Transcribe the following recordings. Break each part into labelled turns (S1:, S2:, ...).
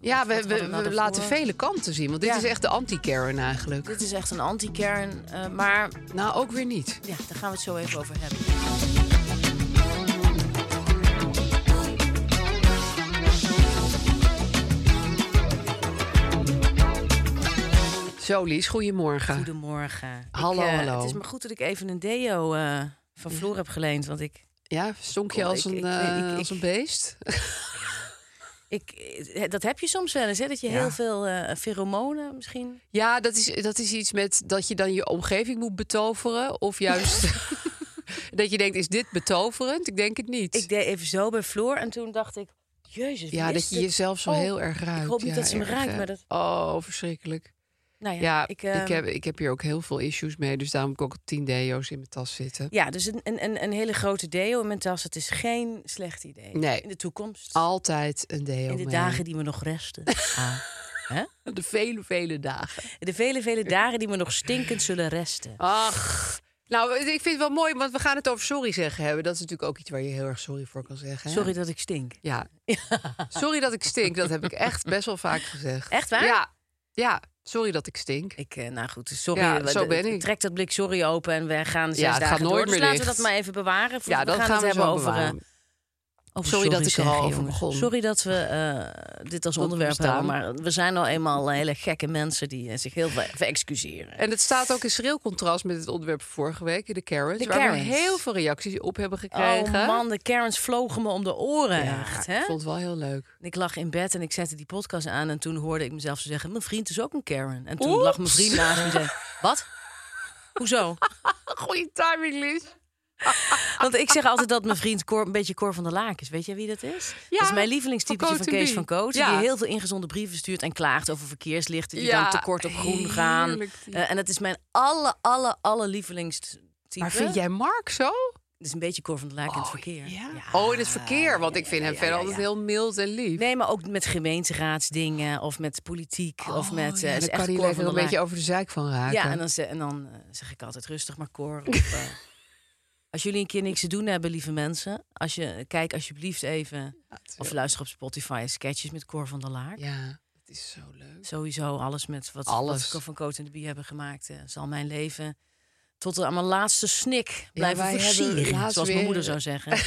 S1: Ja, we, we,
S2: hadden we
S1: we
S2: daarvoor?
S1: laten vele kanten zien. Want dit
S2: nou Ja.
S1: is echt de anti-Karen eigenlijk.
S2: Dit is echt een anti-kern, eh, maar
S1: Nou, ook weer niet.
S2: ja, daar gaan we het zo even over hebben.
S1: Zo, Lies, goedemorgen.
S2: Goedemorgen.
S1: Hallo,
S2: ik, eh,
S1: hallo.
S2: Het is maar goed dat ik even een deo eh, van Floor heb geleend, want ik,
S1: Ja, stonk je
S2: Oh,
S1: als
S2: ik-
S1: een,
S2: ik-
S1: eh,
S2: ik-
S1: als
S2: ik-
S1: een beest?
S2: ik, eh, dat heb je soms wel eens, hè, dat je
S1: Ja.
S2: heel veel eh pheromonen misschien.
S1: Ja, dat is, dat is iets met dat je dan je omgeving moet betoveren. Of juist dat je denkt, is dit betoverend? Ik denk het niet.
S2: Ik deed even zo bij Floor en toen dacht ik, jezus. wie
S1: ja,
S2: is
S1: dat je
S2: dit?
S1: jezelf zo
S2: Oh,
S1: heel erg ruikt.
S2: Ik hoop
S1: Ja,
S2: niet dat ze me
S1: erg,
S2: ruikt,
S1: hè.
S2: maar dat.
S1: Oh, verschrikkelijk.
S2: Nou
S1: Ja,
S2: ja,
S1: ik,
S2: eh,
S1: heb, ik heb hier ook heel veel issues mee. Dus daarom heb ik ook tien deo's in mijn tas zitten.
S2: Ja, dus een, een- een, een hele grote deo in mijn tas. Het is geen slecht idee.
S1: Nee.
S2: In de toekomst.
S1: Altijd een deo
S2: in de
S1: mee.
S2: dagen die me nog resten. Ah. Hè?
S1: De vele, vele dagen.
S2: De vele, vele dagen die me nog stinkend zullen resten.
S1: Ach. Nou, ik vind het wel mooi, want we gaan het over sorry zeggen hebben. Dat is natuurlijk ook iets waar je heel erg sorry voor kan zeggen. hè?
S2: Sorry dat ik stink.
S1: Ja. Sorry dat ik stink. Dat heb ik echt best wel vaak gezegd.
S2: Echt waar?
S1: Ja. Ja. Sorry dat ik stink.
S2: Ik, eh, nou goed, sorry.
S1: Ja,
S2: We-
S1: zo
S2: de-
S1: ben ik.
S2: Trek dat blik sorry open en we gaan zes
S1: Ja, het
S2: dagen
S1: gaat nooit
S2: door. Dus
S1: meer
S2: laten we
S1: licht.
S2: dat maar even bewaren. voor
S1: Ja, dat
S2: we gaan,
S1: gaan
S2: het
S1: we
S2: hebben
S1: zo
S2: over, eh,
S1: bewaren.
S2: over
S1: Sorry dat ik er al
S2: zeggen,
S1: over
S2: jongens.
S1: begon.
S2: Sorry dat we eh, dit als
S1: Dat
S2: onderwerp
S1: bestaan.
S2: hebben. Maar we zijn nou eenmaal hele gekke mensen die eh, zich heel ver verexcuseren.
S1: En het staat ook in schril contrast met het onderwerp van vorige week, de Karens.
S2: De
S1: waar
S2: Karens.
S1: we heel veel reacties op hebben gekregen.
S2: Oh man, de Karens vlogen me om de oren.
S1: Ja,
S2: echt, hè?
S1: Ik vond het wel heel leuk.
S2: Ik lag in bed en ik zette die podcast aan. En toen hoorde ik mezelf zo zeggen: Mijn vriend is ook een Karen. En toen
S1: Oeps.
S2: lag mijn vriend naast me en zei: Wat? Hoezo?
S1: Goeie timing, Lies.
S2: Want ik zeg altijd dat mijn vriend Cor, een beetje Cor van der Laak is. Weet jij wie dat is? dat is mijn lievelingstypetje
S1: van
S2: van
S1: Coat en Bie.
S2: Kees van Koot.
S1: Ja.
S2: Die heel veel ingezonde brieven stuurt en klaagt over verkeerslichten. Die
S1: Ja,
S2: dan tekort op groen gaan.
S1: heerlijk type.
S2: Eh, en dat is mijn alle, alle, alle lievelingstype.
S1: Maar vind jij Mark zo?
S2: Dat is een beetje Cor van der Laak in Oh, het verkeer.
S1: Oh, in het verkeer. Want ik vind hem
S2: ja,
S1: verder
S2: ja,
S1: altijd
S2: ja.
S1: heel mild en lief.
S2: Nee, maar ook met gemeenteraadsdingen of met politiek of met... eh,
S1: Oh, ja, dan
S2: is echt
S1: kan hij
S2: Cor
S1: lekker
S2: van
S1: een
S2: der Laak.
S1: beetje over de zeik van raken.
S2: Ja, en dan, ze- en dan eh, zeg ik altijd rustig maar Cor. Of, eh, als jullie een keer niks te doen hebben, lieve mensen. Als je, kijk alsjeblieft even of luister op Spotify sketches met Cor van der Laak.
S1: Ja, het is zo leuk.
S2: Sowieso alles met wat,
S1: Alles.
S2: wat Cor van Koot en de Bie hebben gemaakt. eh, zal mijn leven tot aan mijn laatste snik blijven
S1: wij hebben
S2: versieren.
S1: laatst
S2: Zoals
S1: weer- eh,
S2: mijn moeder zou zeggen.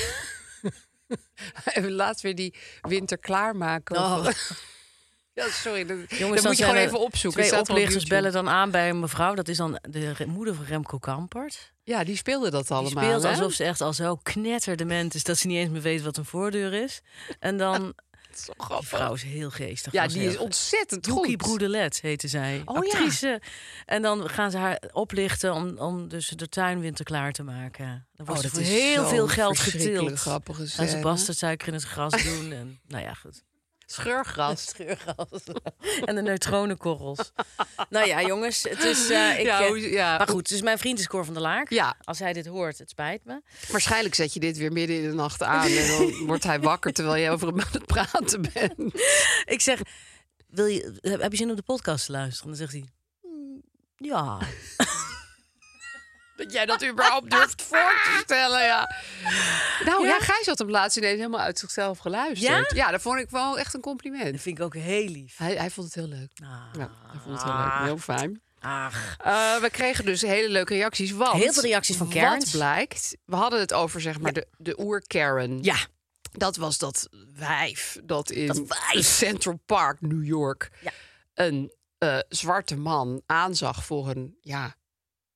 S1: En laatst weer die winter klaarmaken. of-
S2: Oh.
S1: Ja, sorry. Dat,
S2: Jongens,
S1: dat
S2: dan
S1: moet je
S2: zijn
S1: gewoon
S2: er
S1: even opzoeken. Het
S2: Twee
S1: staat wel op
S2: oplichters
S1: YouTube.
S2: bellen dan aan bij een mevrouw. Dat is dan de re- moeder van Remco Kampert.
S1: Ja, die speelde dat
S2: Die
S1: allemaal.
S2: speelt
S1: hè?
S2: alsof ze echt al zo knetterdement is dat ze niet eens meer weet wat een voordeur is. En dan,
S1: Het is zo
S2: die
S1: grappig.
S2: vrouw is heel geestig.
S1: Ja,
S2: was
S1: die
S2: heel
S1: is
S2: ge-
S1: ontzettend
S2: Doekie
S1: goed.
S2: Broedelet heette zij,
S1: Oh, ja.
S2: actrice. En dan gaan ze haar oplichten om, om dus de tuin winterklaar te maken. Dan wordt
S1: Oh,
S2: ze
S1: dat
S2: voor
S1: is
S2: heel
S1: zo'n
S2: veel geld
S1: verschrikkelijk
S2: getild.
S1: grappige
S2: Gaan ze
S1: scène.
S2: bastardsuiker in het gras doen. En, nou ja, goed.
S1: Scheurgras.
S2: Treurgas. en de neutronenkorrels. nou ja, jongens, het is... eh, ik,
S1: Ja,
S2: eh,
S1: hoe- ja.
S2: Maar goed, dus mijn vriend is Cor van der Laak.
S1: Ja.
S2: Als hij dit hoort, het spijt me.
S1: Waarschijnlijk zet je dit weer midden in de nacht aan. En dan wordt hij wakker terwijl jij over hem aan het praten bent.
S2: Ik zeg, wil je, heb heb je zin om de podcast te luisteren? En dan zegt hij, "Mm, ja.
S1: Dat jij dat überhaupt durft voor te stellen, ja. Nou ja, Gijs had hem laatst ineens helemaal uit zichzelf geluisterd. Ja, dat vond ik wel echt een
S2: Dat
S1: compliment.
S2: vind ik ook heel lief.
S1: Hij, hij vond het heel leuk. Ja, hij vond het heel leuk. Heel fijn.
S2: Ach,
S1: Ah. Eh, we kregen dus hele leuke reacties. Want
S2: Heel veel reacties van Karens.
S1: Wat blijkt, we hadden het over zeg maar de, de oer-Karen.
S2: ja.
S1: Dat was dat wijf dat in
S2: Dat wijf.
S1: Central Park, New York,
S2: Ja.
S1: een eh, zwarte man aanzag voor een ja,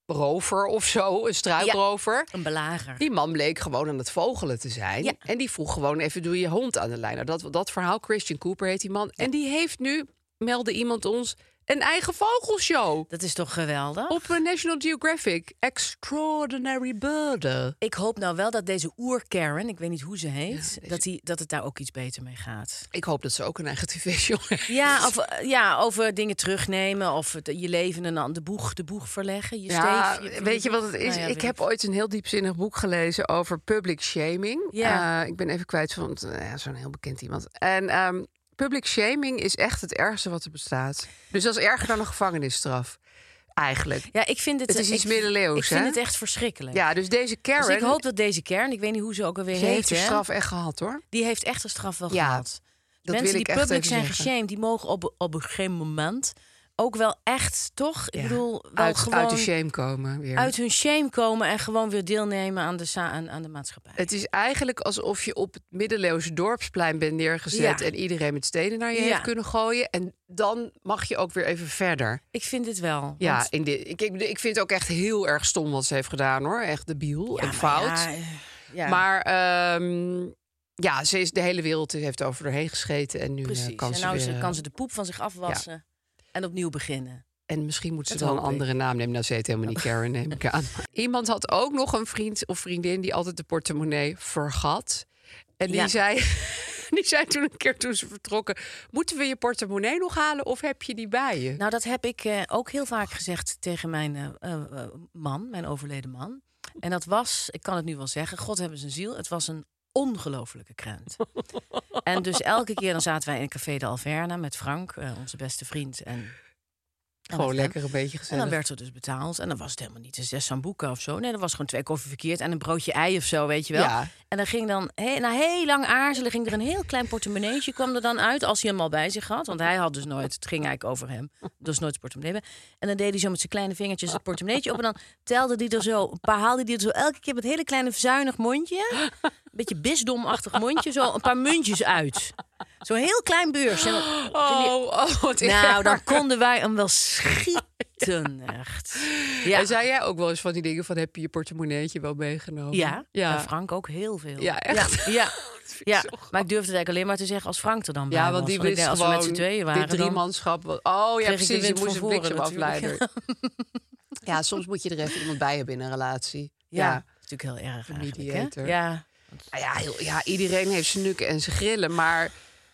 S1: rover of zo, een struikrover.
S2: Een belager.
S1: Die man bleek gewoon aan het vogelen te zijn.
S2: Ja.
S1: En die vroeg gewoon even, doe je hond aan de lijn? Nou, dat, dat verhaal, Christian Cooper heet die man. En die heeft nu, meldde iemand ons, een eigen vogelshow.
S2: Dat is toch geweldig?
S1: Op eh, National Geographic. Extraordinary Birder.
S2: Ik hoop nou wel dat deze oer-Karen, ik weet niet hoe ze heet, dat, die, dat het daar ook iets beter mee gaat.
S1: Ik hoop dat ze ook een eigen tv-show heeft.
S2: Ja, of, eh, ja, over dingen terugnemen of het- je leven en dan de boeg, de boeg verleggen. Je
S1: Ja,
S2: steef, je-
S1: weet je wat het is?
S2: Nou
S1: ik
S2: ja, weet
S1: heb ooit een heel diepzinnig boek gelezen over public shaming.
S2: Ja.
S1: Eh, ik ben even kwijt van want, eh, ja, zo'n heel bekend iemand. En ehm, public shaming is echt het ergste wat er bestaat. Dus dat is erger dan een gevangenisstraf. Eigenlijk.
S2: Ja, ik vind het, eh,
S1: Het is iets
S2: ik-
S1: middeleeuws,
S2: Ik vind
S1: hè?
S2: het echt verschrikkelijk.
S1: Ja, dus deze Karen.
S2: Dus ik hoop dat deze kern, ik weet niet hoe ze ook alweer
S1: ze heeft
S2: heet,
S1: de
S2: hè,
S1: straf echt gehad hoor.
S2: die heeft echt een straf wel
S1: Ja,
S2: gehad.
S1: Dat
S2: Mensen
S1: wil ik
S2: die
S1: echt
S2: public
S1: even
S2: zijn
S1: zeggen.
S2: geshamed, die mogen op, op een gegeven moment ook wel echt, toch? Ik
S1: Ja,
S2: bedoel, wel
S1: uit,
S2: gewoon
S1: uit de shame komen weer.
S2: uit hun shame komen en gewoon weer deelnemen aan de, sa- aan, aan de maatschappij.
S1: Het is eigenlijk alsof je op het middeleeuwse dorpsplein bent neergezet...
S2: Ja.
S1: en iedereen met stenen naar je
S2: Ja.
S1: heeft kunnen gooien. En dan mag je ook weer even verder.
S2: Ik vind dit wel.
S1: Ja,
S2: want-
S1: in de, ik, ik, ik vind het ook echt heel erg stom wat ze heeft gedaan hoor. Echt debiel
S2: Ja,
S1: en
S2: maar
S1: fout.
S2: ja, eh, ja.
S1: Maar ehm, ja, ze is, de hele wereld heeft over doorheen gescheten. En nu eh,
S2: precies.
S1: kan,
S2: en
S1: ze
S2: nou
S1: weer,
S2: ze-
S1: eh,
S2: kan ze de poep van zich afwassen en opnieuw beginnen.
S1: En misschien moet ze
S2: Dat
S1: dan een
S2: hoop ik.
S1: andere naam nemen. Nou, ze heet helemaal niet Karen, neem ik aan. Iemand had ook nog een vriend of vriendin die altijd de portemonnee vergat. En die,
S2: Ja.
S1: zei, die zei toen een keer toen ze vertrokken... moeten we je portemonnee nog halen of heb je die bij je?
S2: Nou, dat heb ik eh, ook heel vaak gezegd tegen mijn eh, eh, eh, man, mijn overleden man. En dat was, ik kan het nu wel zeggen, God hebben zijn ziel. Het was een ongelofelijke krent. en dus elke keer dan zaten wij in Café de Alverna met Frank, eh, onze beste vriend. En, en met
S1: Gewoon
S2: hem.
S1: lekker een beetje
S2: En dan
S1: gezellig.
S2: werd er dus betaald. En dan was het helemaal niet een zes sambuca of zo. Nee, dat was gewoon twee koffie verkeerd en een broodje ei of zo, weet je wel.
S1: Ja.
S2: En dan ging dan, he, na heel lang aarzelen, ging er een heel klein portemonneetje kwam er dan uit. Als hij hem al bij zich had. Want hij had dus nooit, het ging eigenlijk over hem. Dus nooit zijn portemonnee. bij. En dan deed hij zo met zijn kleine vingertjes het portemonneetje op. En dan telde hij er zo, een paar haalde hij er zo elke keer met een hele kleine verzuinig mondje. Een beetje bisdomachtig mondje. Zo een paar muntjes uit. Zo'n heel klein beurs. En dan-
S1: Oh, oh, wat
S2: nou,
S1: erg.
S2: dan konden wij hem wel schieten, echt. Ja,
S1: En zei jij ook wel eens van die dingen van... heb je je portemonneetje wel meegenomen?
S2: ja. en
S1: ja.
S2: Frank ook heel veel.
S1: Ja, echt?
S2: Ja, ja. Ja, maar ik durfde het eigenlijk alleen maar te zeggen als Frank er dan bij
S1: Ja, want
S2: was.
S1: die
S2: ik
S1: wist
S2: denk, als we
S1: gewoon
S2: met z'n tweeën waren,
S1: dit driemanschap. was- Oh ja,
S2: kreeg ik de
S1: precies. Je
S2: wind
S1: moest een
S2: van voren
S1: bliksem
S2: natuurlijk.
S1: afleider. ja, soms moet je er even iemand bij hebben in een relatie.
S2: dan... Ja,
S1: Ja.
S2: dat is natuurlijk heel erg eigenlijk, hè?
S1: mediator.
S2: Ja,
S1: Nou Ja, heel- ja, iedereen heeft zijn nukken en zijn grillen, maar...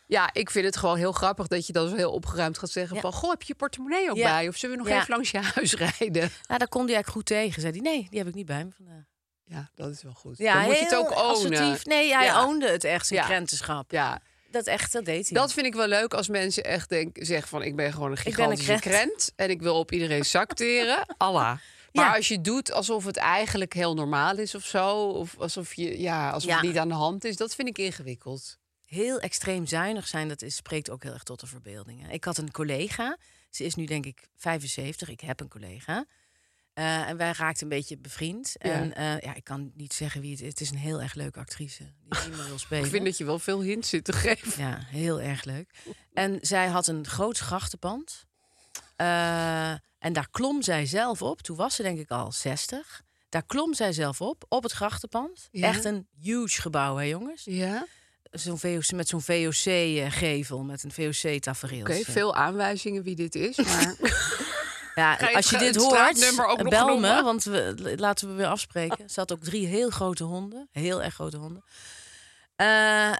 S1: Ja, ik vind het gewoon heel grappig dat je dan zo heel opgeruimd gaat zeggen
S2: Ja.
S1: van... Goh, heb je je portemonnee ook
S2: Ja.
S1: bij? Of zullen we nog
S2: Ja.
S1: even langs je huis rijden?
S2: nou, daar kon hij eigenlijk goed tegen. Zei hij, nee, die heb ik niet bij me vandaag.
S1: Ja, dat is wel goed.
S2: Ja,
S1: dan moet je het
S2: heel
S1: ook ownen.
S2: assertief. Nee, hij
S1: Ja.
S2: ownde het echt, zijn
S1: Ja.
S2: krentenschap.
S1: Ja,
S2: Dat echt, dat deed hij.
S1: dat vind ik wel leuk als mensen echt denk, zeggen van... ik ben gewoon een
S2: Ik ben een
S1: gigantische krent.
S2: krent.
S1: en ik wil op iedereen zak teren. Allah. Maar
S2: Ja.
S1: als je doet alsof het eigenlijk heel normaal is of zo... of alsof, je, ja, alsof
S2: Ja.
S1: het niet aan de hand is, dat vind ik ingewikkeld.
S2: heel extreem zuinig zijn, dat is, spreekt ook heel erg tot de verbeelding. hè. Ik had een collega, ze is nu denk ik 75, ik heb een collega. Eh, en wij raakten een beetje bevriend. En eh, ja, ik kan niet zeggen wie het is. Het is een heel erg leuke actrice die niet meer wil spelen.
S1: Ik vind dat je wel veel hints zit te geven.
S2: Ja, heel erg leuk. En zij had een groot grachtenpand. Eh, en daar klom zij zelf op. Toen was ze denk ik al 60. Daar klom zij zelf op, op het grachtenpand.
S1: Ja.
S2: Echt een huge gebouw, hè jongens?
S1: Ja,
S2: zo'n VOC, met zo'n VOC-gevel, met een VOC-tafereel.
S1: oké. veel aanwijzingen wie dit is, maar...
S2: ja,
S1: Ga je
S2: als je
S1: het stra-
S2: dit
S1: het
S2: hoort,
S1: straatnummer ook nog
S2: bel me,
S1: noemen?
S2: want we, laten we weer afspreken. Ze had ook drie heel grote honden, heel erg grote honden. Eh,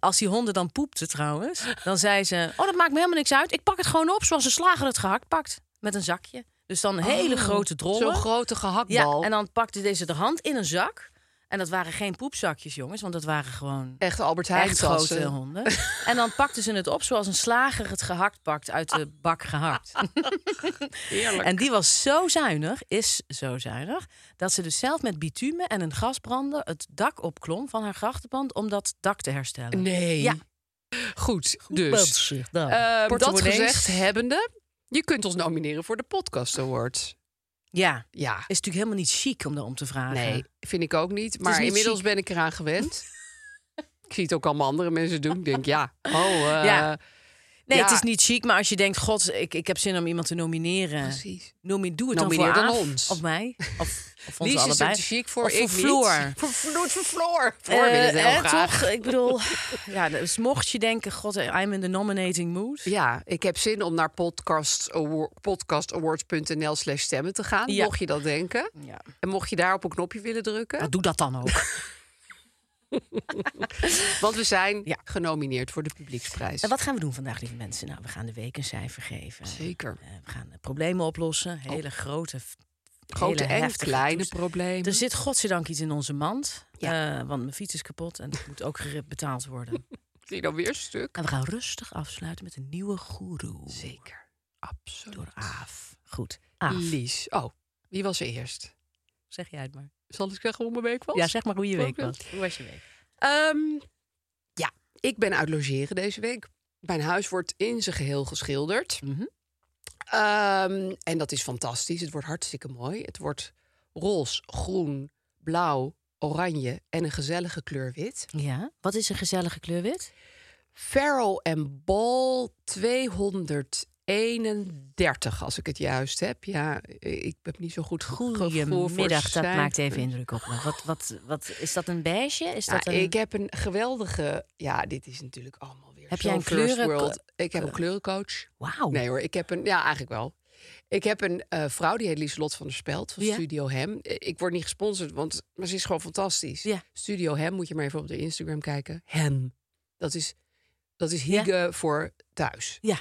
S2: als die honden dan poepten trouwens, dan zei ze... Oh, dat maakt me helemaal niks uit. Ik pak het gewoon op zoals een slager het gehakt pakt. Met een zakje. Dus dan hele grote drollen.
S1: Oh, Zo'n grote
S2: ja,
S1: gehaktbal.
S2: en dan pakte deze de hand in een zak. En dat waren geen poepzakjes, jongens. Want dat waren gewoon
S1: Echt Albert Heijn
S2: echt grote honden. En dan pakten ze het op zoals een slager het gehakt pakt uit de bak gehakt.
S1: Heerlijk.
S2: En die was zo zuinig, is zo zuinig, dat ze dus zelf met bitumen en een gasbrander het dak opklom van haar grachtenpand om dat dak te herstellen.
S1: Nee.
S2: Ja.
S1: Goed, dus...
S2: zich dan.
S1: ehm, dat
S2: Portemonnees.
S1: gezegd hebbende, je kunt ons nomineren voor de Podcast Award.
S2: Ja, is
S1: Ja,
S2: natuurlijk helemaal niet chic om daarom te vragen.
S1: nee, vind ik ook niet. Maar
S2: niet
S1: inmiddels
S2: chic.
S1: ben ik eraan gewend. ik zie het ook allemaal andere mensen doen. Ik denk, ja, oh, eh,
S2: Ja. Nee,
S1: Ja.
S2: het is niet chic, maar als je denkt, god, ik, ik heb zin om iemand te nomineren.
S1: Precies.
S2: Nomi, doe het
S1: Nomineer
S2: dan voor
S1: dan
S2: Aaf,
S1: ons.
S2: Of mij. Of, of ons
S1: Lies is
S2: allebei.
S1: er te chic voor,
S2: of
S1: ik
S2: voor Floor.
S1: niet. Voor, voor, voor Floor. Floor
S2: Eh,
S1: wil het heel
S2: hè,
S1: graag.
S2: Toch? Ik bedoel, ja, dus mocht je denken, god, I'm in the nominating mood.
S1: Ja, ik heb zin om naar podcast awar- podcastawards.nl slash stemmen te gaan.
S2: Ja.
S1: Mocht je dat denken.
S2: Ja.
S1: En mocht je daar op een knopje willen drukken.
S2: Nou, doe dat dan ook.
S1: Want we zijn
S2: Ja.
S1: genomineerd voor de publieksprijs.
S2: En wat gaan we doen vandaag, lieve mensen? Nou, we gaan de week een cijfer geven.
S1: Zeker.
S2: Eh, we gaan eh, problemen oplossen. Hele grote, f-
S1: Grote
S2: hele
S1: en
S2: heftige
S1: kleine
S2: toestanden.
S1: problemen.
S2: Er zit godzijdank iets in onze mand.
S1: Ja.
S2: Eh, want mijn fiets is kapot en dat moet ook gere- betaald worden.
S1: Zie je dan weer een stuk?
S2: En we gaan rustig afsluiten met een nieuwe goeroe.
S1: Zeker. Absoluut.
S2: Door Aaf. Goed. Aaf.
S1: Lies. Oh, wie was er eerst?
S2: Zeg jij het maar.
S1: Zal ik zeggen hoe mijn week was?
S2: Ja, zeg maar hoe je
S1: Ook
S2: week
S1: wel.
S2: was. Hoe was je week?
S1: Ehm, ja, ik ben uit logeren deze week. Mijn huis wordt in zijn geheel geschilderd.
S2: Mhm.
S1: Ehm, en dat is fantastisch. Het wordt hartstikke mooi. Het wordt roze, groen, blauw, oranje en een gezellige kleur wit.
S2: Ja. Wat is een gezellige kleur wit?
S1: Farrell en Ball 231, als ik het juist heb. Ja, ik heb niet zo goed gevoel voor
S2: Goedemiddag, dat
S1: cijfers.
S2: maakt even indruk op me. Wat, wat, wat, is dat een beige? Is dat
S1: Ja,
S2: een...
S1: Nou, Ik heb een geweldige... Ja, dit is natuurlijk allemaal weer
S2: Heb
S1: zo'n
S2: jij een
S1: first
S2: kleuren-
S1: world. Ik heb een kleurencoach.
S2: Wauw.
S1: Nee hoor, ik heb een... Ja, eigenlijk wel. Ik heb een eh, vrouw, die heet Lieselot van der Speld van
S2: Ja.
S1: Studio Hem. Eh, Ik word niet gesponsord, want, maar ze is gewoon fantastisch.
S2: Ja.
S1: Studio Hem, moet je maar even op de Instagram kijken. Hem. Dat is, dat is hygge voor thuis.
S2: Ja.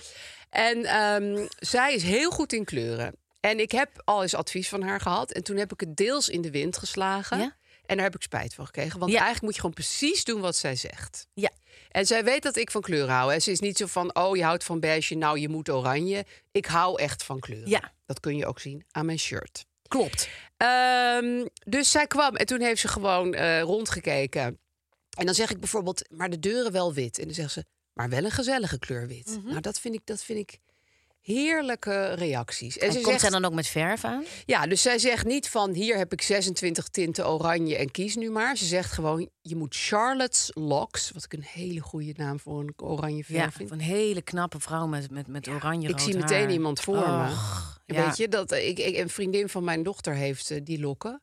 S1: En ehm, zij is heel goed in kleuren. En ik heb al eens advies van haar gehad. En toen heb ik het deels in de wind geslagen.
S2: Ja.
S1: En daar heb ik spijt van gekregen. Want
S2: Ja.
S1: eigenlijk moet je gewoon precies doen wat zij zegt.
S2: Ja.
S1: En zij weet dat ik van kleuren hou. Hè. Ze is niet zo van, oh, je houdt van beige, nou, je moet oranje. Ik hou echt van kleuren.
S2: Ja.
S1: Dat kun je ook zien aan mijn shirt.
S2: Klopt.
S1: Ehm, dus zij kwam en toen heeft ze gewoon eh, rondgekeken. En dan zeg ik bijvoorbeeld, maar de deuren wel wit. En dan zegt ze, maar wel een gezellige kleur wit.
S2: Mhm.
S1: Nou, dat vind ik, dat vind ik heerlijke reacties.
S2: En,
S1: ze
S2: komt zij
S1: zegt,
S2: dan ook met verf aan?
S1: ja, dus zij zegt niet van hier heb ik 26 tinten oranje en kies nu maar. Ze zegt gewoon, je moet Charlotte's Locks, wat ik een hele goede naam voor een oranje verf
S2: Ja,
S1: vind.
S2: van een hele knappe vrouw met, met, met oranje Oh,
S1: Ik zie meteen iemand voor me.
S2: ja.
S1: Weet je, dat, eh, ik, ik, een vriendin van mijn dochter heeft eh, die lokken.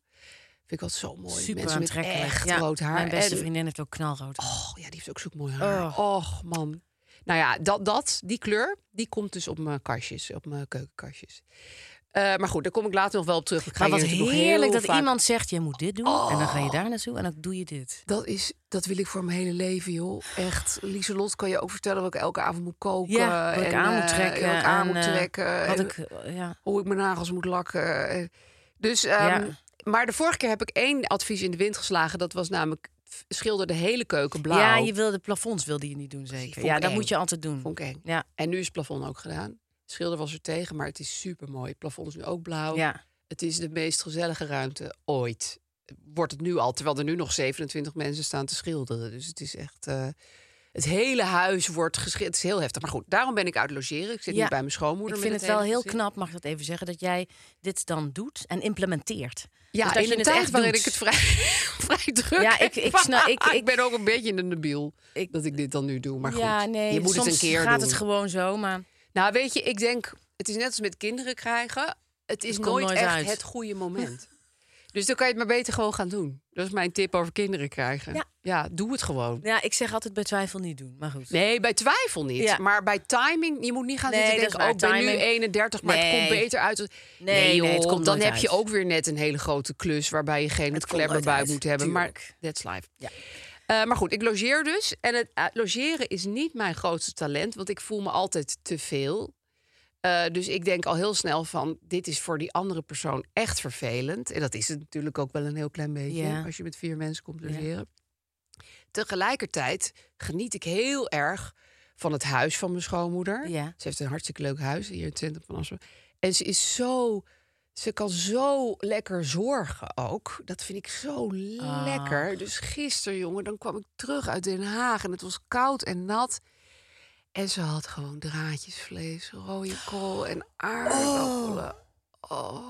S1: Vind ik altijd zo mooi.
S2: Super
S1: Mensen met
S2: aantrekkelijk.
S1: echt
S2: Ja,
S1: rood haar.
S2: Mijn beste
S1: En-
S2: vriendin Oh. heeft ook knalrood haar.
S1: oh, ja, die heeft ook zo'n mooi haar. Och, man. Nou ja, dat, dat, die kleur, die komt dus op mijn kastjes, op mijn keukenkastjes. Eh, maar goed, daar kom ik later nog wel op terug. Ik ga
S2: maar wat
S1: hier natuurlijk nog
S2: heerlijk
S1: heel
S2: dat
S1: vaak-
S2: iemand zegt, je moet dit doen. En dan ga je daar naartoe en dan doe je dit.
S1: Dat, is, dat wil ik voor mijn hele leven, joh. Echt. Lieselot kan je ook vertellen wat ik elke avond moet koken.
S2: Ja, wat ik
S1: en,
S2: aan moet
S1: eh,
S2: trekken.
S1: Wat ik aan
S2: en,
S1: moet
S2: eh,
S1: trekken.
S2: Wat
S1: en-
S2: ik, eh, ja.
S1: hoe ik mijn nagels moet lakken. eh. Dus, ehm,
S2: Ja.
S1: maar de vorige keer heb ik één advies in de wind geslagen. Dat was namelijk f- schilder de hele keuken blauw.
S2: ja, je wilde plafonds wilde je niet doen zeker.
S1: vond
S2: Ja,
S1: ik
S2: dat
S1: eng.
S2: moet je altijd doen.
S1: Vond ik eng.
S2: Ja,
S1: En nu is het plafond ook gedaan. Schilder was er tegen, maar het is super mooi. Het plafond is nu ook blauw.
S2: ja.
S1: Het is de meest gezellige ruimte ooit. Wordt het nu al, terwijl er nu nog 27 mensen staan te schilderen. Dus het is echt. eh, het hele huis wordt geschilderd. Het is heel heftig. Maar goed, daarom ben ik uit logeren. Ik zit
S2: Ja.
S1: nu bij mijn schoonmoeder.
S2: Ik
S1: met
S2: vind het wel
S1: hele
S2: heel
S1: gezin.
S2: knap, mag ik dat even zeggen, dat jij dit dan doet en implementeert.
S1: Ja,
S2: Dus dat
S1: in
S2: je
S1: een
S2: het
S1: tijd
S2: echt
S1: waarin
S2: doet.
S1: ik het vrij, vrij druk
S2: Ja, ik-
S1: heb.
S2: ik snap- ik- ik-
S1: ben ook een beetje in de debiel
S2: Ik-
S1: dat ik dit dan nu doe. Maar goed,
S2: ja, nee,
S1: je moet
S2: soms
S1: het een keer
S2: gaat
S1: doen.
S2: het gewoon zo, maar
S1: nou, weet je, ik denk, het is net als met kinderen krijgen. Het is
S2: komt
S1: nooit,
S2: nooit
S1: echt
S2: uit.
S1: het goede moment. dus dan kan je het maar beter gewoon gaan doen. Dat is mijn tip over kinderen krijgen.
S2: Ja.
S1: doe het gewoon.
S2: ja, ik zeg altijd bij twijfel niet doen, maar goed.
S1: Nee, bij twijfel niet.
S2: Ja.
S1: Maar bij timing, je moet niet gaan
S2: Nee,
S1: zitten
S2: dat is
S1: denken... oh, ik
S2: waar,
S1: ben nu
S2: timing.
S1: 31, maar het komt
S2: Nee.
S1: beter uit. als-
S2: Nee, nee, het komt
S1: dan
S2: nooit
S1: heb je
S2: uit.
S1: ook weer net een hele grote klus... waarbij je geen
S2: Het komt nooit
S1: klebberbuik
S2: uit,
S1: moet hebben.
S2: tuurlijk.
S1: Maar that's life.
S2: Ja.
S1: Eh, maar goed, ik logeer dus. En het eh, logeren is niet mijn grootste talent, want ik voel me altijd te veel. Eh, dus ik denk al heel snel van, dit is voor die andere persoon echt vervelend. En dat is het natuurlijk ook wel een heel klein beetje,
S2: Ja.
S1: als je met vier mensen komt logeren. Tegelijkertijd geniet ik heel erg van het huis van mijn schoonmoeder.
S2: Ja.
S1: Ze heeft een hartstikke leuk huis hier in het centrum van Amsterdam. En ze is zo... Ze kan zo lekker zorgen ook. Dat vind ik zo lekker. Dus gisteren, jongen, dan kwam ik terug uit Den Haag... en het was koud en nat. En ze had gewoon draadjesvlees, rode kool en aardappelen. Oh.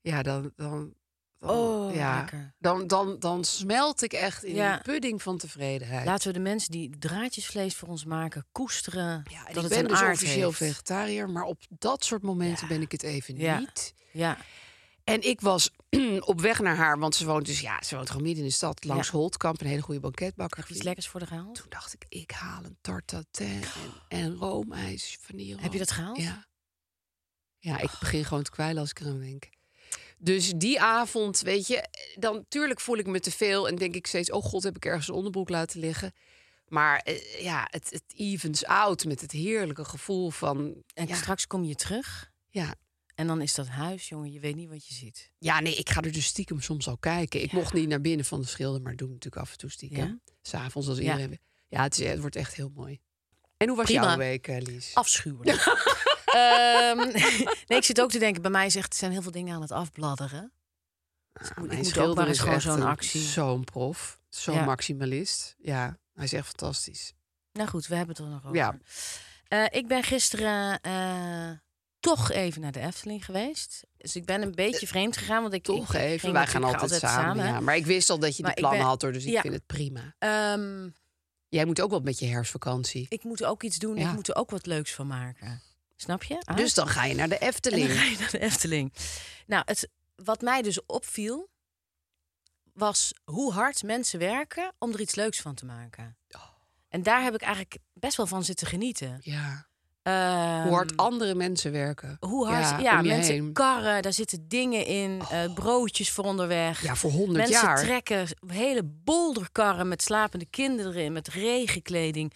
S1: Ja, Oh. dan, dan, dan,
S2: Oh,
S1: ja,
S2: lekker.
S1: Dan, dan, dan smelt ik echt in
S2: Ja.
S1: een pudding van tevredenheid.
S2: Laten we de mensen die draadjesvlees voor ons maken koesteren.
S1: ja, en
S2: dat
S1: ik
S2: het
S1: ben
S2: een
S1: dus
S2: aard
S1: officieel
S2: heeft.
S1: vegetariër, maar op dat soort momenten ben ik het even
S2: Ja.
S1: niet.
S2: Ja,
S1: En ik was op weg naar haar, want ze woont dus ja, ze woont gewoon midden in de stad, langs Holtkamp, een hele goede banketbakker.
S2: iets
S1: gevonden.
S2: lekkers voor de gehaald.
S1: Toen dacht ik, ik haal een tarte tatin en, en roomijs, vanille.
S2: Heb je dat gehaald? Oh.
S1: Ja. Ja, ik begin gewoon te kwijlen als ik eraan denk. Dus die avond, weet je, dan tuurlijk voel ik me te veel en denk ik steeds, oh god, heb ik ergens een onderbroek laten liggen. Maar eh, ja, het, het evens out met het heerlijke gevoel van.
S2: En
S1: ja,
S2: straks kom je terug
S1: ja,
S2: en dan is dat huis, jongen, je weet niet wat je ziet.
S1: ja, nee, ik ga er dus stiekem soms al kijken. Ik mocht niet naar binnen van de schilder, maar doe natuurlijk af en toe stiekem.
S2: Ja.
S1: S'avonds als
S2: Ja.
S1: iedereen. weer- Ja, het, is, het wordt echt heel mooi. En hoe was
S2: Prima.
S1: jouw week, eh, Lies?
S2: Afschuwelijk. Ehm, nee, ik zit ook te denken, bij mij is echt, er zijn heel veel dingen aan het afbladderen. Dus ik moet- ik
S1: Mijn
S2: moet ook
S1: schilder
S2: maar eens
S1: is
S2: gewoon
S1: echt
S2: zo'n
S1: een-
S2: actie.
S1: Zo'n prof, zo'n
S2: Ja.
S1: maximalist. Ja, hij is echt fantastisch.
S2: Nou goed, we hebben het er nog over.
S1: Ja.
S2: Eh, ik ben gisteren eh, toch even naar de Efteling geweest. Dus ik ben een beetje vreemd gegaan, want ik
S1: Eh, Toch
S2: ik
S1: even,
S2: ging
S1: wij
S2: met-
S1: gaan
S2: ik ga
S1: altijd, samen.
S2: hè.
S1: ja. Maar ik wist al dat je
S2: Maar
S1: die
S2: ik
S1: plannen
S2: ben-
S1: had, hoor, dus ik
S2: ja.
S1: vind het prima.
S2: Ehm,
S1: Jij moet ook wat met je herfstvakantie.
S2: ik moet ook iets doen,
S1: Ja.
S2: ik moet er ook wat leuks van maken. Snap je? Ah.
S1: Dus dan ga je naar de Efteling.
S2: En dan ga je naar de Efteling. Nou, het, wat mij dus opviel, was hoe hard mensen werken om er iets leuks van te maken.
S1: Oh.
S2: En daar heb ik eigenlijk best wel van zitten genieten.
S1: Ja.
S2: Ehm,
S1: Hoe hard andere mensen werken.
S2: hoe hard, ja,
S1: om je
S2: mensen
S1: heen. Oh.
S2: karren, daar zitten dingen in, eh, broodjes voor onderweg.
S1: Ja, voor 100
S2: mensen
S1: jaar.
S2: trekken hele bolderkarren met slapende kinderen erin, met regenkleding.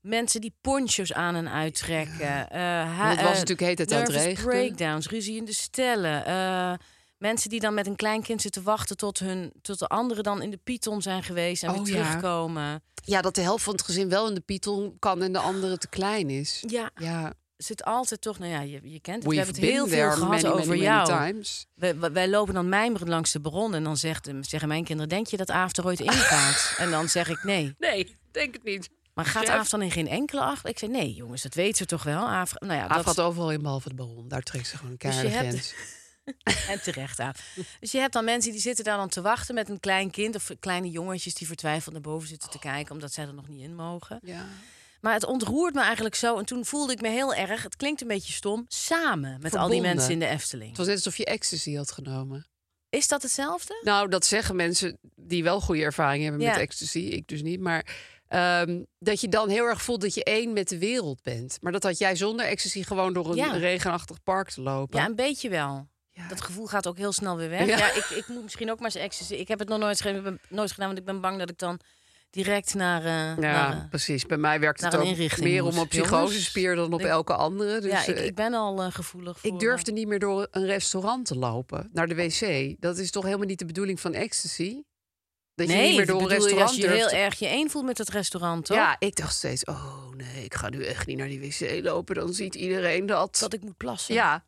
S2: Mensen die ponchos aan en uittrekken. Eh, ha-
S1: Want het was
S2: eh,
S1: natuurlijk de hele tijd aan het
S2: nervous
S1: regenen.
S2: breakdowns, ruzie in de stellen. eh, mensen die dan met een kleinkind zitten wachten tot, hun, tot de anderen dan in de Python zijn geweest en
S1: Oh,
S2: weer
S1: ja.
S2: terugkomen.
S1: Ja, dat de helft van het gezin wel in de Python kan en de andere te klein is.
S2: Ja,
S1: Ja,
S2: zit altijd toch, nou ja, je, je kent het.
S1: we've
S2: We hebben het
S1: been
S2: heel veel
S1: there
S2: gehad
S1: many, many,
S2: over
S1: many
S2: jou.
S1: times.
S2: Wij, wij- wij lopen dan mijmerend langs de bron en dan zegt, zeggen mijn kinderen... denk je dat Aaf er ooit in gaat? en dan zeg ik nee.
S1: Nee, denk het niet.
S2: Maar gaat
S1: Chef?
S2: Aaf dan in geen enkele acht? Ik zei nee, jongens, dat weten we toch wel. Aaf, nou ja,
S1: Aaf
S2: dat
S1: gaat overal in behalve de baron. Daar trekt ze gewoon een
S2: Dus je
S1: keiharde
S2: hebt-
S1: grens.
S2: en terecht aan. Dus je hebt dan mensen die zitten daar dan te wachten met een klein kind of kleine jongetjes die vertwijfeld naar boven zitten te kijken omdat zij er nog niet in mogen.
S1: Ja.
S2: Maar het ontroert me eigenlijk zo en toen voelde ik me heel erg. Het klinkt een beetje stom samen met al die
S1: Verbonden.
S2: mensen in de
S1: Het
S2: Efteling.
S1: was net alsof je ecstasy had genomen.
S2: Is dat hetzelfde?
S1: Nou, dat zeggen mensen die wel goede ervaring hebben met
S2: Ja.
S1: ecstasy. Ik dus niet. Maar ehm, dat je dan heel erg voelt dat je één met de wereld bent. Maar dat had jij zonder ecstasy gewoon door een
S2: Ja.
S1: regenachtig park te lopen.
S2: Ja, een beetje wel.
S1: Ja.
S2: Dat gevoel gaat ook heel snel weer weg.
S1: Ja.
S2: Ja, ik, ik moet misschien ook maar eens ecstasy. Ik heb het nog nooit, ge- nooit gedaan, want ik ben bang dat ik dan direct naar, eh,
S1: Ja,
S2: naar, eh,
S1: precies. Bij mij werkt
S2: naar
S1: het
S2: een
S1: ook
S2: inrichting
S1: meer om
S2: moet.
S1: op psychosespier dan op
S2: Ik-
S1: elke andere. Dus
S2: ja, ik,
S1: eh,
S2: ik ben al eh, gevoelig voor.
S1: ik durfde niet meer door een restaurant te lopen naar de wc. Dat is toch helemaal niet de bedoeling van ecstasy? Dat je
S2: eh, nee,
S1: niet meer door een
S2: bedoel je
S1: restaurant
S2: als je
S1: durft.
S2: heel erg je één voelt met het restaurant, toch?
S1: Ja, ik dacht steeds, oh nee, ik ga nu echt niet naar die wc lopen. Dan ziet iedereen dat.
S2: Dat ik moet plassen.
S1: Ja.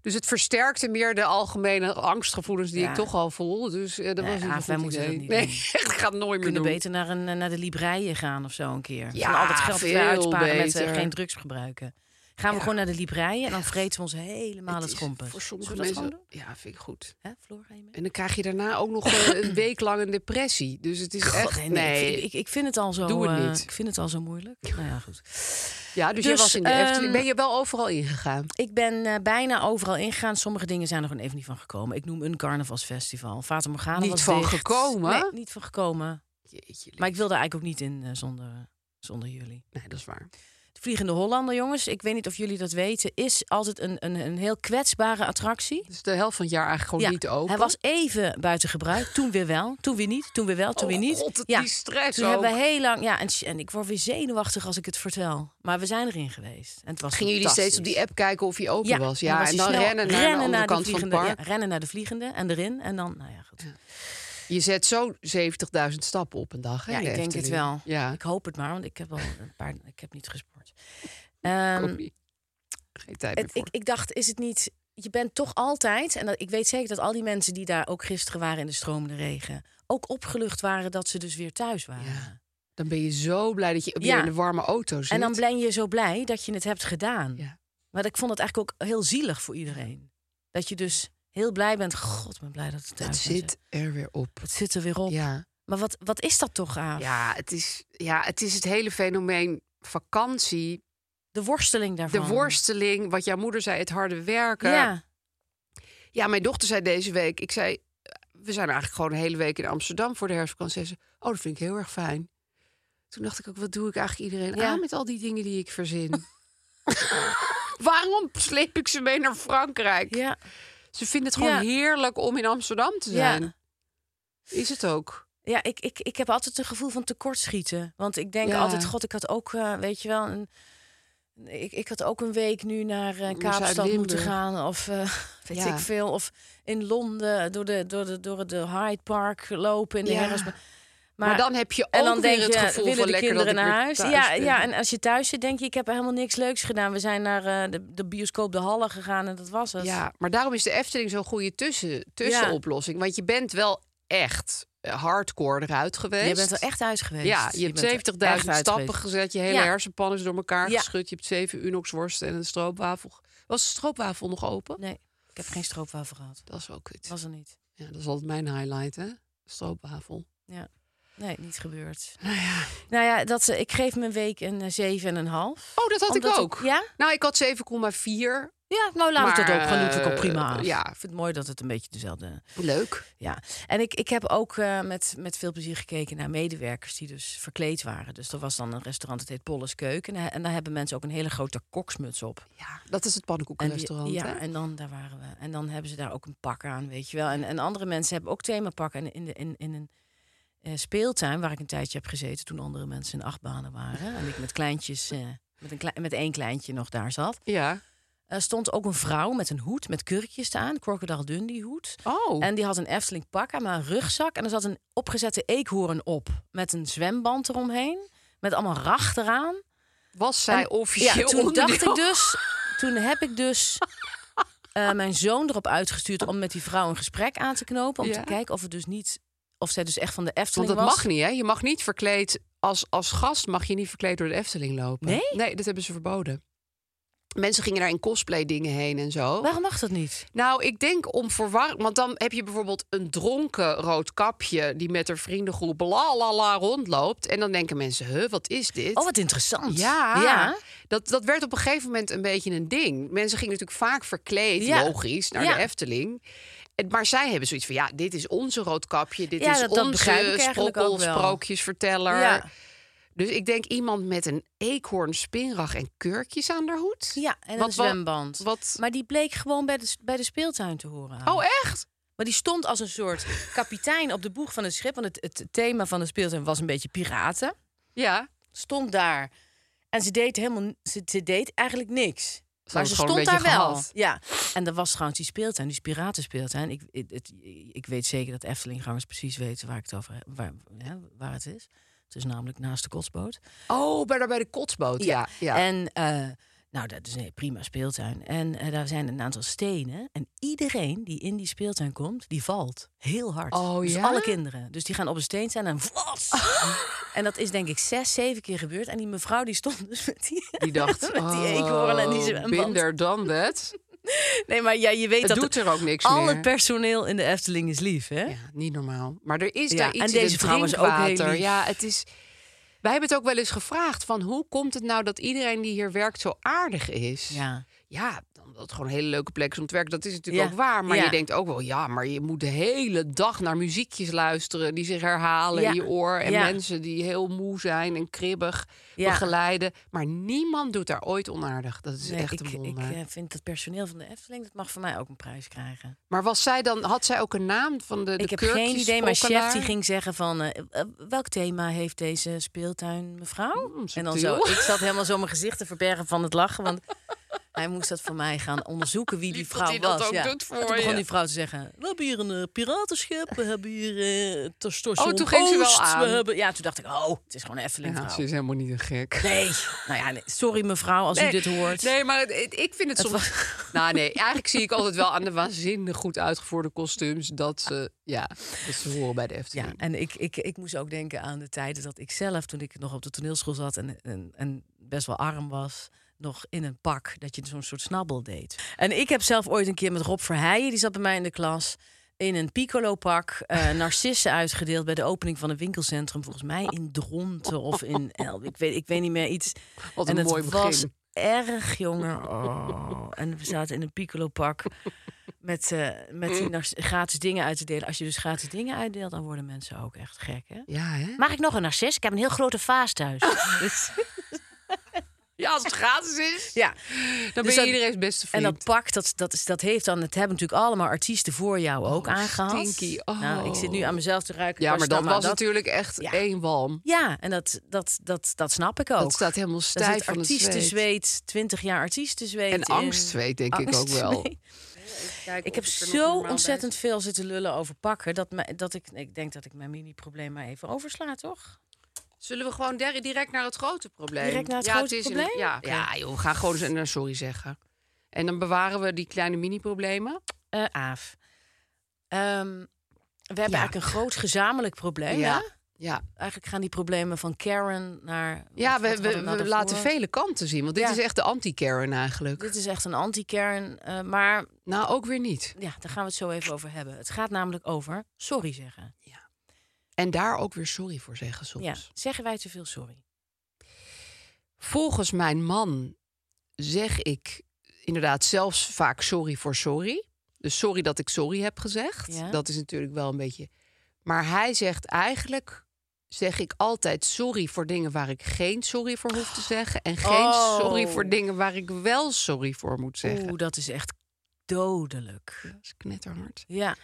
S1: Dus het versterkte meer de algemene angstgevoelens die
S2: Ja.
S1: ik toch al voel. Dus eh, dat
S2: Nee,
S1: was niet
S2: Aaf,
S1: een
S2: wij
S1: goed
S2: moeten
S1: idee.
S2: dat niet
S1: nee,
S2: doen.
S1: ik ga het nooit
S2: We
S1: meer
S2: kunnen
S1: doen.
S2: beter naar, een, eh, naar de libreien gaan of zo een keer.
S1: Ja,
S2: Van al dat geld dat wij
S1: veel
S2: uitsparen met eh,
S1: beter.
S2: geen drugs gebruiken. Gaan we
S1: Ja.
S2: gewoon naar de libreien en dan vreten we ons helemaal het
S1: is
S2: schompen.
S1: Voor
S2: Zullen
S1: sommige
S2: we dat gewoon
S1: mensen.
S2: doen?
S1: Ja, vind ik goed.
S2: Hè, Floor, ga je mee?
S1: En dan krijg je daarna ook nog eh, een week lang een depressie. Dus het is echt.
S2: God,
S1: Nee.
S2: Ik, vind- ik, ik vind het al zo.
S1: Doe het
S2: eh,
S1: niet.
S2: ik vind het al zo moeilijk. Nou ja, goed.
S1: Ja, dus, je
S2: Dus,
S1: was in de Efteling.
S2: ehm,
S1: Ben je wel overal ingegaan?
S2: Ik ben eh, bijna overal ingegaan. Sommige dingen zijn er gewoon even niet van gekomen. Ik noem een carnavalsfestival. Fata Morgana
S1: Niet
S2: was
S1: van
S2: dicht.
S1: gekomen?
S2: Nee, niet van gekomen.
S1: Jeetje,
S2: Maar ik wilde eigenlijk ook niet in eh, zonder, zonder jullie.
S1: Nee, dat is waar.
S2: De Vliegende Hollander, jongens, ik weet niet of jullie dat weten, is altijd een, een, een heel kwetsbare attractie.
S1: Dus de helft van het jaar eigenlijk gewoon
S2: Ja,
S1: niet open.
S2: Hij was even buiten gebruik, toen weer wel, toen weer niet, toen weer wel, toen
S1: Oh
S2: weer niet.
S1: God, het-
S2: ja,
S1: die stress
S2: toen
S1: ook.
S2: hebben we heel lang, ja, en, sh- en ik word weer zenuwachtig als ik het vertel. Maar we zijn erin geweest. En het was
S1: Gingen jullie steeds op die app kijken of hij open
S2: ja,
S1: was?
S2: dan
S1: Ja,
S2: was
S1: en
S2: hij
S1: dan
S2: snel
S1: rennen naar de andere kant van het
S2: vliegende,
S1: park.
S2: ja, rennen naar de vliegende en erin en dan, nou ja, goed.
S1: Je zet zo 70.000 stappen op een dag. Hè,
S2: Ja,
S1: in de
S2: ik denk het
S1: Efteling.
S2: wel.
S1: Ja,
S2: Ik hoop het maar, want ik heb al een paar, ik heb niet gesport.
S1: ik
S2: Ehm,
S1: ook niet. Geen tijd meer
S2: Het-
S1: voor.
S2: ik, ik dacht, is het niet... Je bent toch altijd, en dat, ik weet zeker dat al die mensen die daar ook gisteren waren in de stromende regen, ook opgelucht waren dat ze dus weer thuis waren.
S1: Ja, Dan ben je zo blij dat je weer
S2: Ja.
S1: in de warme auto zit.
S2: en dan ben je zo blij dat je het hebt gedaan.
S1: Ja.
S2: Maar ik vond het eigenlijk ook heel zielig voor iedereen. Dat je dus heel blij bent. God, ik ben blij dat het
S1: Het
S2: thuis is.
S1: zit er weer op.
S2: Het zit er weer op.
S1: Ja.
S2: Maar wat, wat is dat toch, Aaf?
S1: Ja, het is, ja, het is het hele fenomeen vakantie.
S2: De worsteling daarvan.
S1: De worsteling, wat jouw moeder zei, het harde werken.
S2: Ja.
S1: Ja, mijn dochter zei deze week, ik zei, we zijn eigenlijk gewoon een hele week in Amsterdam voor de herfstvakantie. Zei ze, oh, dat vind ik heel erg fijn. Toen dacht ik ook, wat doe ik eigenlijk iedereen
S2: Ja.
S1: aan met al die dingen die ik verzin? Waarom sleep ik ze mee naar Frankrijk?
S2: Ja.
S1: Ze vinden het gewoon
S2: Ja.
S1: heerlijk om in Amsterdam te zijn.
S2: Ja.
S1: Is het ook?
S2: Ja, ik, ik, ik heb altijd een gevoel van tekortschieten. Want ik denk
S1: Ja.
S2: altijd, god, ik had ook, eh, weet je wel, een, ik, ik had ook een week nu naar eh, Kaapstad moeten
S1: Zuid-Limburg.
S2: gaan. Of eh, weet
S1: Ja.
S2: ik veel. Of in Londen door de, door de, door de Hyde Park lopen in de
S1: Ja.
S2: herfst. Maar,
S1: Maar, dan heb je ook
S2: en dan
S1: weer
S2: denk
S1: het
S2: je,
S1: gevoel
S2: willen
S1: van
S2: de
S1: lekker dat
S2: kinderen
S1: ik
S2: naar
S1: weer
S2: huis?
S1: thuis
S2: Ja,
S1: ben.
S2: ja, en als je thuis zit, denk je, ik heb helemaal niks leuks gedaan. We zijn naar eh, de, de bioscoop De Halle gegaan en dat was het.
S1: Ja, maar daarom is de Efteling zo'n goede tussen, tussenoplossing. Want je bent wel echt eh, hardcore eruit geweest.
S2: Je bent wel echt thuis geweest.
S1: Ja, je
S2: bent er
S1: hebt 70.000
S2: echt uit
S1: stappen
S2: geweest.
S1: gezet. Je hele
S2: Ja.
S1: hersenpan is door elkaar
S2: Ja.
S1: geschud. Je hebt zeven unoxworsten en een stroopwafel. Was de stroopwafel nog open?
S2: Nee, ik heb geen stroopwafel gehad.
S1: Dat is wel kut.
S2: Was er niet.
S1: Ja, dat is altijd mijn highlight, hè? Stroopwafel.
S2: Nee, niet gebeurd. Nou ja, dat, eh, ik geef mijn week een eh, 7,5.
S1: Oh, dat had
S2: Omdat
S1: ik ook.
S2: Ja?
S1: Nou, ik had 7,4.
S2: Ja, nou laat ik dat
S1: Maar,
S2: ook gewoon doen. Vind ik ook
S1: eh,
S2: prima. af.
S1: ja.
S2: Ik vind het mooi dat het een beetje dezelfde...
S1: Leuk.
S2: Ja. En ik, ik heb ook eh, met, met veel plezier gekeken naar medewerkers die dus verkleed waren. Dus er was dan een restaurant, dat heet Polles Keuken. En, en daar hebben mensen ook een hele grote koksmuts op.
S1: Ja, dat is het
S2: En die-
S1: pannenkoekenrestaurant,
S2: ja,
S1: hè?
S2: en dan daar waren we. En dan hebben ze daar ook een pak aan, weet je wel. En, en andere mensen hebben ook themapakken. En in, de, in, in een eh, speeltuin waar ik een tijdje heb gezeten toen andere mensen in achtbanen waren. En ik met kleintjes, eh, met, een klei- met één kleintje nog daar zat.
S1: Ja.
S2: Er stond ook een vrouw met een hoed met kurkjes aan, Crocodile Dundee hoed.
S1: Oh.
S2: En die had een Efteling pak aan, maar een rugzak. En er zat een opgezette eekhoorn op met een zwemband eromheen. Met allemaal rach eraan.
S1: was zij
S2: En-
S1: officieel
S2: Ja, toen
S1: onderdeel?
S2: dacht ik dus, toen heb ik dus eh, mijn zoon erop uitgestuurd om met die vrouw een gesprek aan te knopen. Om
S1: Ja.
S2: te kijken of het dus niet, of zij dus echt van de
S1: Want
S2: Efteling
S1: dat
S2: was.
S1: mag niet, hè? Je mag niet verkleed als, als gast mag je niet verkleed door de Efteling lopen.
S2: Nee?
S1: Nee, dat hebben ze verboden. Mensen gingen daar in cosplay dingen heen en zo.
S2: Waarom mag dat niet?
S1: Nou, ik denk om verwarring. Want dan heb je bijvoorbeeld een dronken rood kapje die met haar vriendengroep la la la rondloopt. En dan denken mensen, huh, wat is dit?
S2: Oh, wat interessant.
S1: Ja,
S2: ja.
S1: Dat, dat werd op een gegeven moment een beetje een ding. Mensen gingen natuurlijk vaak verkleed,
S2: Ja.
S1: logisch, naar
S2: Ja.
S1: de Efteling. En- Maar zij hebben zoiets van, ja, dit is onze roodkapje. Dit
S2: Ja,
S1: is
S2: dat- dat begrijp
S1: onze
S2: ik eigenlijk
S1: sprokkel,
S2: ook wel.
S1: sprookjesverteller.
S2: Ja.
S1: Dus ik denk iemand met een eekhoorn, spinrag en kurkjes aan haar hoed.
S2: Ja, en
S1: Wat-
S2: een
S1: wat-
S2: zwemband.
S1: wat-
S2: Maar die bleek gewoon bij de, bij de speeltuin te horen.
S1: Oh, echt?
S2: Maar die stond als een soort kapitein op de boeg van het schip. Want het, het thema van de speeltuin was een beetje piraten.
S1: Ja.
S2: stond daar. En ze deed helemaal, ze, ze deed eigenlijk niks. maar
S1: het
S2: ze
S1: gewoon een
S2: stond daar
S1: beetje
S2: wel.
S1: gehad.
S2: Ja. En er was trouwens die speeltuin, die piraten Ik, ik, het- ik weet zeker dat Eftelinggangers precies weten waar ik het over heb, waar, hè, waar het is. Het is namelijk naast de kotsboot.
S1: Oh, bij, daar bij de kotsboot. Ja. ja.
S2: En eh, nou, dat is een prima speeltuin. En eh, daar zijn een aantal stenen. En iedereen die in die speeltuin komt, die valt heel hard.
S1: Oh,
S2: dus
S1: ja?
S2: alle kinderen. Dus die gaan op een steen staan en vlas. en dat is denk ik zes, zeven keer gebeurd. En die mevrouw die stond dus met die,
S1: Die dacht,
S2: met die eekhoorn en die
S1: oh,
S2: zwemband.
S1: minder dan dat.
S2: Nee, maar ja, je weet
S1: Het
S2: dat
S1: doet
S2: de-
S1: er ook niks
S2: al
S1: meer.
S2: het personeel in de Efteling is lief, hè?
S1: Ja, niet normaal. Maar er is
S2: Ja,
S1: daar iets
S2: en
S1: in
S2: deze
S1: het
S2: vrouw was ook heel
S1: drinkwater.
S2: lief.
S1: Ja, het is. Wij hebben het ook wel eens gevraagd van hoe komt het nou dat iedereen die hier werkt zo aardig is?
S2: Ja.
S1: Ja, dan dat het gewoon een hele leuke plek is om te werken. Dat is natuurlijk
S2: Ja,
S1: ook waar. Maar
S2: ja.
S1: je denkt ook wel, ja, maar je moet de hele dag naar muziekjes luisteren die zich herhalen
S2: Ja,
S1: in je oor. En
S2: ja.
S1: mensen die heel moe zijn en kribbig
S2: Ja.
S1: begeleiden. Maar niemand doet daar ooit onaardig. Dat is
S2: Nee,
S1: echt
S2: ik,
S1: een
S2: ik
S1: wonder.
S2: eh, vind dat personeel van de Efteling, dat mag voor mij ook een prijs krijgen.
S1: maar was zij dan, had zij ook een naam van de, de
S2: ik heb geen idee, maar chef
S1: kurkjesprokkelaar?
S2: die ging zeggen van... eh, eh, welk thema heeft deze speeltuin, mevrouw? en dan zo,
S1: Mm, subtiel.
S2: ik zat helemaal zo mijn gezicht te verbergen van het lachen. Want hij moest dat voor mij gaan onderzoeken wie die
S1: Lief dat
S2: vrouw
S1: hij
S2: was.
S1: dat ook
S2: ja.
S1: doet voor
S2: en toen begon
S1: je.
S2: die vrouw te zeggen... We hebben hier een eh, piratenschip, we hebben hier eh Terstation
S1: Oh, toen ging ze wel
S2: Oost,
S1: aan.
S2: We hebben... Ja, toen dacht ik, oh, het is gewoon een Efteling
S1: Ja, ze
S2: vrouw.
S1: is helemaal niet een gek.
S2: Nee, nou ja, nee. sorry mevrouw als u
S1: Nee,
S2: dit hoort.
S1: Nee, maar het- het- ik vind het, soms... Nou nee, eigenlijk zie ik altijd wel aan de waanzinnig goed uitgevoerde kostuums... dat ze, ja, dat ze horen bij de
S2: Ja,
S1: Efteling.
S2: en ik, ik, ik moest ook denken aan de tijden dat ik zelf, toen ik nog op de toneelschool zat en, en, en best wel arm was, nog in een pak. Dat je zo'n soort snabbel deed. En ik heb zelf ooit een keer met Rob Verheijen, die zat bij mij in de klas. In een piccolo-pak, eh, narcissen uitgedeeld bij de opening van een winkelcentrum. Volgens mij in Dronten of in El. Ik weet, ik weet niet meer iets.
S1: Wat
S2: en
S1: een
S2: het
S1: mooi
S2: was
S1: begin.
S2: erg jonger. Oh. En we zaten in een piccolo-pak met, eh, met
S1: Mm.
S2: die nar- gratis dingen uit te delen. Als je dus gratis dingen uitdeelt, dan worden mensen ook echt gek, hè?
S1: Ja, hè?
S2: Mag ik nog een narcis? Ik heb een heel grote vaas thuis. Dus-
S1: Ja, als het gratis is,
S2: ja.
S1: dan
S2: Dus
S1: ben
S2: dat-
S1: je iedereen's beste
S2: En
S1: vriend.
S2: dat pak, dat, dat, is, dat heeft dan... Het hebben natuurlijk allemaal artiesten voor jou ook
S1: Oh,
S2: aangehad.
S1: stinky. Oh.
S2: Nou, ik zit nu aan mezelf te ruiken.
S1: ja,
S2: qua
S1: maar dat
S2: stammen.
S1: was natuurlijk echt
S2: Ja.
S1: één walm.
S2: Ja, en dat, dat, dat, dat snap ik ook.
S1: Dat staat helemaal
S2: Daar
S1: stijf
S2: zit
S1: van het
S2: artiestenzweet, 20 jaar artiestenzweet.
S1: En
S2: in.
S1: angstzweet, denk ik ook wel.
S2: Angstzweet. Ik heb zo ontzettend veel zitten lullen over pakken... dat, mij- dat ik, ik denk dat ik mijn mini-probleem maar even oversla, toch?
S1: Zullen we gewoon der- direct naar het grote probleem?
S2: Direct naar het
S1: ja,
S2: grote
S1: is een-
S2: probleem?
S1: ja,
S2: Oké.
S1: ja joh, we gaan gewoon eens een eh, sorry zeggen. En dan bewaren we die kleine mini-problemen.
S2: Eh, Aaf. Ehm, we hebben
S1: Ja.
S2: eigenlijk een groot gezamenlijk probleem, hè?
S1: Ja,
S2: Eigenlijk gaan die problemen van Karen naar...
S1: ja
S2: wat-
S1: we,
S2: wat hadden
S1: we,
S2: nou
S1: we
S2: daarvoor?
S1: laten vele kanten zien. Want dit
S2: Ja.
S1: is echt de anti-Karen eigenlijk.
S2: Dit is echt een anti-Karen, eh, maar
S1: Nou, ook weer niet.
S2: ja, daar gaan we het zo even over hebben. Het gaat namelijk over sorry zeggen.
S1: En daar ook weer sorry voor zeggen soms.
S2: Ja, zeggen wij te veel sorry?
S1: Volgens mijn man zeg ik inderdaad zelfs vaak sorry voor sorry. Dus sorry dat ik sorry heb gezegd.
S2: Ja.
S1: Dat is natuurlijk wel een beetje. Maar hij zegt eigenlijk zeg ik altijd sorry voor dingen waar ik geen sorry voor hoef te zeggen en geen
S2: Oh.
S1: sorry voor dingen waar ik wel sorry voor moet zeggen.
S2: Oeh, dat is echt dodelijk.
S1: Dat is knetterhard.
S2: Ja,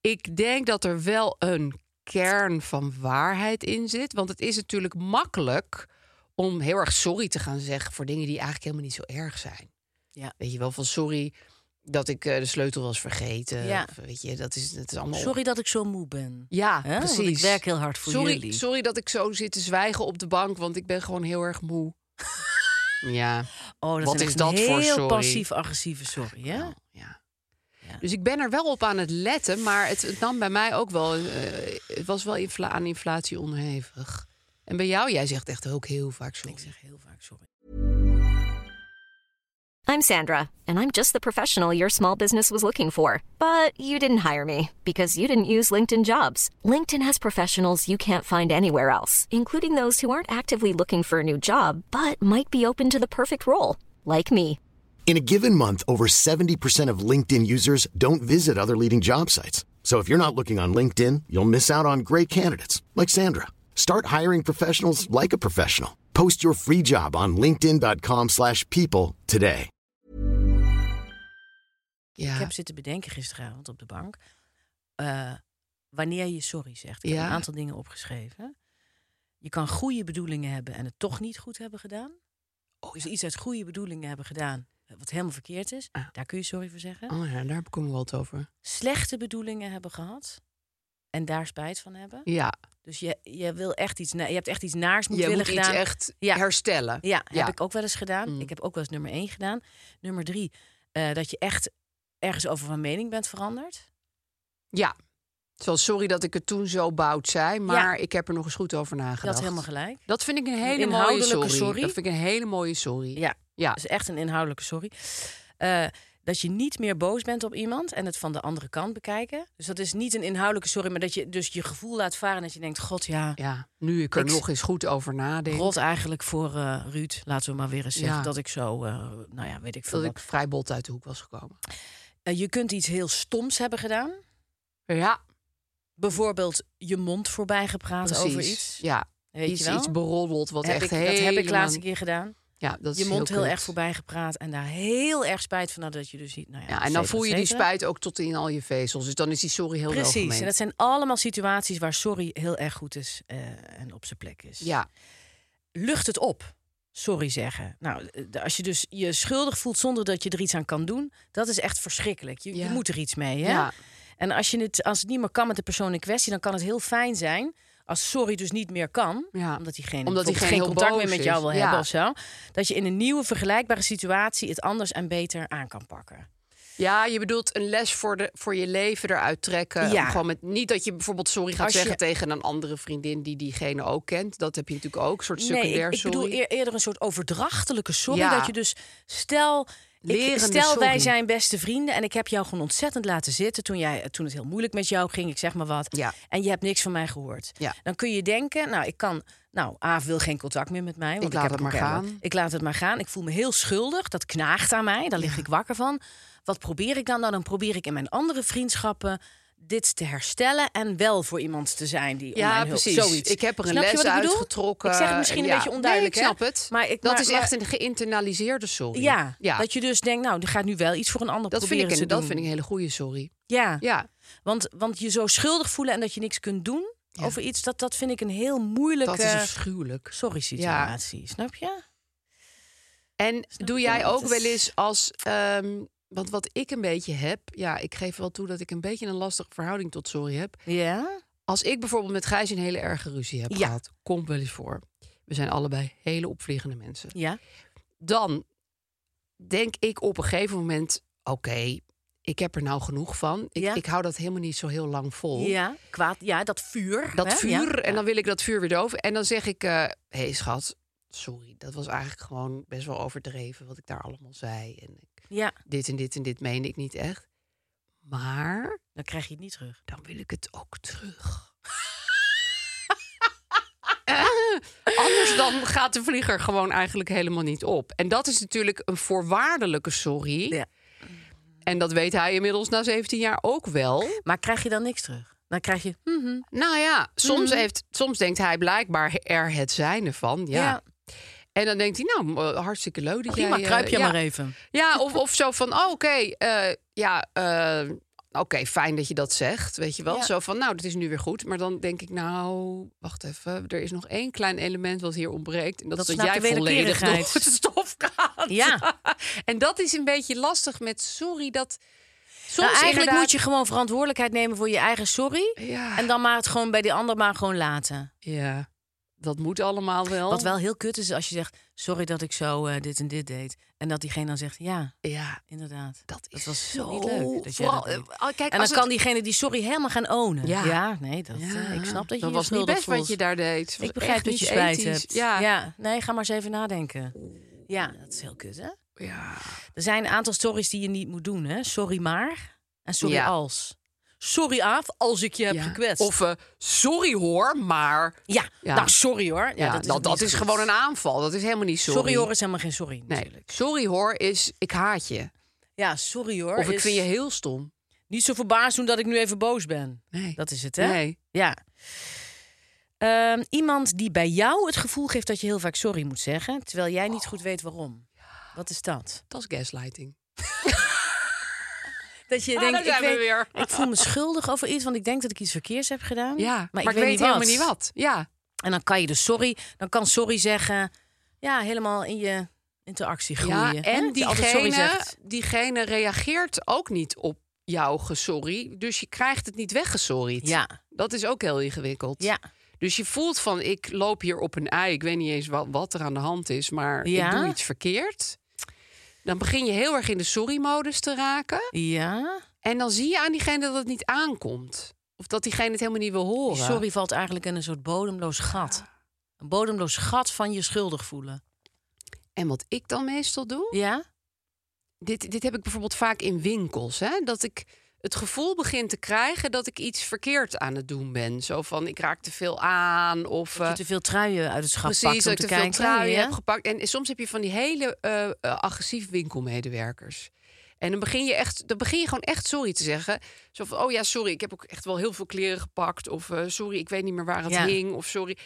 S1: Ik denk dat er wel een kern van waarheid in zit. Want het is natuurlijk makkelijk om heel erg sorry te gaan zeggen voor dingen die eigenlijk helemaal niet zo erg zijn.
S2: Ja.
S1: Weet je wel, van sorry dat ik eh, de sleutel was vergeten.
S2: Ja.
S1: Of, weet je, dat is, het is allemaal.
S2: sorry dat ik zo moe ben.
S1: Ja,
S2: Hè? Want
S1: precies.
S2: ik werk heel hard voor
S1: sorry,
S2: jullie.
S1: Sorry dat ik zo zit te zwijgen op de bank, want ik ben gewoon heel erg moe. ja.
S2: Oh, dat
S1: Wat
S2: zijn
S1: is
S2: echt
S1: dat voor sorry?
S2: Heel passief-agressieve sorry, hè?
S1: Nou, ja. Dus ik ben er wel op aan het letten, maar het, het nam bij mij ook wel. eh, het was wel infla- aan inflatie onderhevig. En bij jou, jij zegt echt ook heel vaak sorry.
S2: Ik zeg heel vaak sorry.
S3: I'm Sandra, and I'm just the professional your small business was looking for. But you didn't hire me because you didn't use LinkedIn jobs. LinkedIn has professionals you can't find anywhere else, including those who aren't actively looking for a new job but might be open to the perfect role, like me.
S4: In a given month, over 70% of LinkedIn users don't visit other leading job sites. So if you're not looking on LinkedIn, you'll miss out on great candidates like Sandra. Start hiring professionals like a professional. Post your free job on linkedin.com/people slash people today.
S1: Ja.
S2: Ik heb zitten bedenken gisteravond op de bank. eh, wanneer je sorry zegt. Ik heb
S1: Ja.
S2: een aantal dingen opgeschreven. Je kan goede bedoelingen hebben en het toch niet goed hebben gedaan. Oh, dus iets uit goede bedoelingen hebben gedaan, eh, wat helemaal verkeerd is.
S1: Ah.
S2: Daar kun je sorry voor zeggen.
S1: Oh ja, daar komen we wel het over.
S2: Slechte bedoelingen hebben gehad en daar spijt van hebben.
S1: Ja,
S2: Dus je, je, wil echt iets, na- je hebt echt iets naars moet
S1: je
S2: willen
S1: moet iets
S2: gedaan.
S1: echt
S2: Ja.
S1: herstellen.
S2: Ja, heb
S1: Ja.
S2: ik ook wel eens gedaan.
S1: Mm.
S2: Ik heb ook wel eens nummer één gedaan. Nummer drie, eh, dat je echt ergens over van mening bent veranderd.
S1: Ja. Zoals sorry dat ik het toen zo bout zei, maar ik heb er nog eens goed over nagedacht.
S2: Je had helemaal gelijk.
S1: Dat vind ik een hele mooie
S2: inhoudelijke
S1: sorry.
S2: sorry.
S1: Dat vind ik een hele mooie sorry.
S2: Ja,
S1: Ja.
S2: dat is echt een inhoudelijke sorry. Eh, dat je niet meer boos bent op iemand en het van de andere kant bekijken. Dus dat is niet een inhoudelijke sorry, maar dat je dus je gevoel laat varen. en Dat je denkt, god ja,
S1: Ja, nu ik er
S2: Ik-
S1: nog eens goed over nadenk,
S2: rot eigenlijk voor eh, Ruud. Laten we maar weer eens zeggen
S1: Ja.
S2: dat ik zo, eh, nou ja, weet ik veel
S1: dat ik
S2: wat.
S1: vrij bot uit de hoek was gekomen.
S2: Eh, je kunt iets heel stoms hebben gedaan.
S1: Ja,
S2: Bijvoorbeeld je mond voorbij gepraat
S1: precies.
S2: over iets.
S1: Ja,
S2: Weet
S1: iets,
S2: je wel?
S1: iets beroddeld wat
S2: heb
S1: echt
S2: ik,
S1: helemaal...
S2: Dat heb ik laatst een keer gedaan.
S1: Ja, dat
S2: Je
S1: is
S2: mond heel,
S1: kut.
S2: erg voorbij gepraat en daar heel erg spijt van had dat je dus niet... Nou ja,
S1: Ja,
S2: et
S1: en dan
S2: cetera,
S1: voel je
S2: et
S1: die
S2: cetera.
S1: spijt ook tot in al je vezels. Dus dan is die sorry heel
S2: Precies, en
S1: welgemeend.
S2: dat zijn allemaal situaties waar sorry heel erg goed is eh, en op zijn plek is.
S1: Ja,
S2: Lucht het op, sorry zeggen. Nou, eh, als je dus je schuldig voelt zonder dat je er iets aan kan doen, dat is echt verschrikkelijk. Je, je
S1: Ja.
S2: moet er iets mee,
S1: ja.
S2: hè? En als, je het, als het niet meer kan met de persoon in kwestie, dan kan het heel fijn zijn als sorry dus niet meer kan,
S1: Ja.
S2: omdat diegene,
S1: Omdat
S2: bijvoorbeeld
S1: diegene
S2: geen
S1: heel
S2: contact meer
S1: boos
S2: met jou
S1: is.
S2: wil
S1: Ja.
S2: hebben of zo, dat je in een nieuwe vergelijkbare situatie het anders en beter aan kan pakken.
S1: Ja, je bedoelt een les voor, de, voor je leven eruit trekken.
S2: Ja.
S1: Gewoon met, niet dat je bijvoorbeeld sorry gaat
S2: Als je-
S1: zeggen tegen een andere vriendin die diegene ook kent. Dat heb je natuurlijk ook, een soort
S2: Nee,
S1: secundair
S2: ik, ik
S1: sorry.
S2: bedoel eer- eerder een soort overdrachtelijke sorry.
S1: Ja.
S2: Dat je dus, stel, ik,
S1: Lerende
S2: stel wij
S1: sorry.
S2: zijn beste vrienden en ik heb jou gewoon ontzettend laten zitten toen, jij, toen het heel moeilijk met jou ging, ik zeg maar wat.
S1: Ja.
S2: En je hebt niks van mij gehoord.
S1: Ja.
S2: Dan kun je denken, nou, ik kan, nou, Aaf wil geen contact meer met mij. Want ik,
S1: laat
S2: heb
S1: het
S2: hem
S1: maar
S2: kennelijk.
S1: gaan.
S2: Ik laat het maar gaan. Ik voel me heel schuldig. Dat knaagt aan mij. Daar lig ik wakker van. Wat probeer ik dan? Nou, dan probeer ik in mijn andere vriendschappen dit te herstellen en wel voor iemand te zijn die
S1: Ja,
S2: online hulp.
S1: precies.
S2: Zoiets.
S1: Ik heb er een
S2: Snap je
S1: les
S2: wat ik bedoel?
S1: uitgetrokken.
S2: Ik zeg het misschien
S1: Ja.
S2: een beetje onduidelijk.
S1: Nee, ik
S2: hè?
S1: snap het.
S2: Maar ik,
S1: dat
S2: maar-
S1: is
S2: maar-
S1: echt een geïnternaliseerde sorry.
S2: Ja,
S1: ja.
S2: dat je dus denkt, nou, er gaat nu wel iets voor een ander
S1: dat, vind
S2: proberen
S1: ik een,
S2: te
S1: dat
S2: doen.
S1: vind ik een hele goede sorry.
S2: Ja,
S1: Ja,
S2: Want, want je zo schuldig voelen en dat je niks kunt doen
S1: Ja.
S2: over iets, dat, dat vind ik een heel moeilijke...
S1: dat eh, is afschuwelijk.
S2: Sorry situatie, snap je?
S1: En doe jij
S2: je?
S1: ook
S2: Het
S1: wel
S2: is- nou
S1: eens als. ehm, want wat ik een beetje heb. Ja, ik geef wel toe dat ik een beetje een lastige verhouding tot sorry heb.
S2: Ja.
S1: Als ik bijvoorbeeld met Gijs een hele erge ruzie heb
S2: Ja.
S1: gehad, komt wel eens voor. We zijn allebei hele opvliegende mensen.
S2: Ja.
S1: Dan denk ik op een gegeven moment: oké, ik heb er nou genoeg van. Ik,
S2: Ja.
S1: ik hou dat helemaal niet zo heel lang vol.
S2: Ja, kwaad, ja, dat vuur.
S1: Dat
S2: hè?
S1: vuur,
S2: Ja.
S1: en dan wil ik dat vuur weer doven. En dan zeg ik: eh, hé schat, sorry, dat was eigenlijk gewoon best wel overdreven wat ik daar allemaal zei. En ik,
S2: Ja,
S1: dit en dit en dit meende ik niet echt. Maar
S2: dan krijg je het niet terug.
S1: dan wil ik het ook terug. Eh, Anders dan gaat de vlieger gewoon eigenlijk helemaal niet op. En dat is natuurlijk een voorwaardelijke sorry.
S2: Ja.
S1: En dat weet hij inmiddels na 17 jaar ook wel.
S2: Maar krijg je dan niks terug? Dan krijg je... mhm,
S1: Nou ja, soms, heeft, soms denkt hij blijkbaar er het zijne van. Ja.
S2: Ja.
S1: En dan denkt hij, nou, eh, hartstikke leuk dat
S2: prima,
S1: jij... eh,
S2: kruip je
S1: ja.
S2: maar even.
S1: Ja, of, of zo van, oh, oké, eh, ja, eh, oké, fijn dat je dat zegt, weet je wel.
S2: Ja.
S1: Zo van, nou, dat is nu weer goed. Maar dan denk ik, nou, wacht even, er is nog één klein element wat hier ontbreekt. En dat,
S2: Dat
S1: is dat
S2: snapt
S1: jij
S2: de
S1: volledig
S2: wederkerigheid.
S1: door de stof gaat.
S2: Ja.
S1: en dat is een beetje lastig met, sorry, dat... Soms
S2: Nou, eigenlijk
S1: inderdaad-
S2: moet je gewoon verantwoordelijkheid nemen voor je eigen sorry.
S1: Ja.
S2: En dan maar het gewoon bij die ander maar gewoon laten.
S1: Ja, dat moet allemaal wel.
S2: Wat wel heel kut is als je zegt: Sorry dat ik zo eh, dit en dit deed. En dat diegene dan zegt: Ja,
S1: Ja,
S2: inderdaad.
S1: dat is
S2: was
S1: zo...
S2: niet leuk. Dat jij
S1: vooral,
S2: dat deed.
S1: eh, kijk,
S2: en dan
S1: als
S2: kan
S1: het-
S2: diegene die sorry helemaal gaan ownen.
S1: Ja.
S2: nee, dat,
S1: Ja,
S2: eh, ik snap dat je
S1: dat was
S2: je
S1: niet
S2: schuldig
S1: best
S2: voelt.
S1: wat je daar deed.
S2: Ik begrijp dat je spijt
S1: spijt
S2: hebt.
S1: Ja. ja.
S2: nee, ga maar eens even nadenken. Ja, dat is heel kut, hè?
S1: ja.
S2: Er zijn een aantal sorry's die je niet moet doen, hè? Sorry maar en sorry
S1: Ja.
S2: als. Sorry Aaf, als ik je heb
S1: Ja.
S2: gekwetst.
S1: Of eh, sorry hoor, maar.
S2: ja,
S1: Ja.
S2: nou sorry hoor. Ja,
S1: Ja,
S2: dat is,
S1: dat,
S2: ook
S1: dat
S2: niet
S1: is
S2: goed.
S1: gewoon een aanval. Dat is helemaal niet sorry.
S2: Sorry hoor is helemaal geen sorry natuurlijk.
S1: Nee. Sorry hoor is ik haat je.
S2: Ja, sorry hoor.
S1: Of ik
S2: is-
S1: vind je heel stom.
S2: Niet zo verbaasd doen dat ik nu even boos ben.
S1: Nee.
S2: Dat is het, hè?
S1: Nee.
S2: Ja. Ehm, iemand die bij jou het gevoel geeft dat je heel vaak sorry moet zeggen, terwijl jij niet goed weet waarom. Wat is dat?
S1: Dat is gaslighting.
S2: Dat je
S1: Ah,
S2: denkt,
S1: daar zijn
S2: ik,
S1: we
S2: weet-
S1: weer.
S2: ik voel me schuldig over iets, want ik denk dat ik iets verkeers heb gedaan.
S1: Ja,
S2: maar, ik, weet, niet
S1: helemaal
S2: wat.
S1: niet wat. Ja.
S2: En dan kan je dus sorry, dan kan sorry zeggen, ja, helemaal in je interactie groeien.
S1: ja
S2: hè?
S1: en
S2: Dat je altijd sorry
S1: diegene,
S2: zegt.
S1: diegene reageert ook niet op jouw gesorry. Dus je krijgt het niet weggesorried.
S2: Ja.
S1: Dat is ook heel ingewikkeld.
S2: Ja.
S1: Dus je voelt van, ik loop hier op een ei. Ik weet niet eens wat, wat er aan de hand is, maar
S2: Ja.
S1: ik doe iets verkeerd. Dan begin je heel erg in de sorry-modus te raken.
S2: Ja.
S1: En dan zie je aan diegene dat het niet aankomt. Of dat diegene het helemaal niet wil horen.
S2: Sorry valt eigenlijk in een soort bodemloos gat. Een bodemloos gat van je schuldig voelen.
S1: En wat ik dan meestal doe...
S2: Ja?
S1: Dit, dit heb ik bijvoorbeeld vaak in winkels. Hè? Dat ik het gevoel begin te krijgen dat ik iets verkeerd aan het doen ben. Zo van, ik raak te veel aan. Of,
S2: Dat
S1: eh,
S2: je te veel truien uit het schap
S1: Precies,
S2: pakt om
S1: dat ik
S2: te
S1: te
S2: kijken.
S1: veel truien
S2: ja?
S1: heb gepakt. En soms heb je van die hele eh, eh, agressieve winkelmedewerkers. En dan begin, je echt, dan begin je gewoon echt sorry te zeggen. Zo van, oh ja, sorry, ik heb ook echt wel heel veel kleren gepakt. Of eh, sorry, ik weet niet meer waar het
S2: Ja.
S1: hing. Of sorry.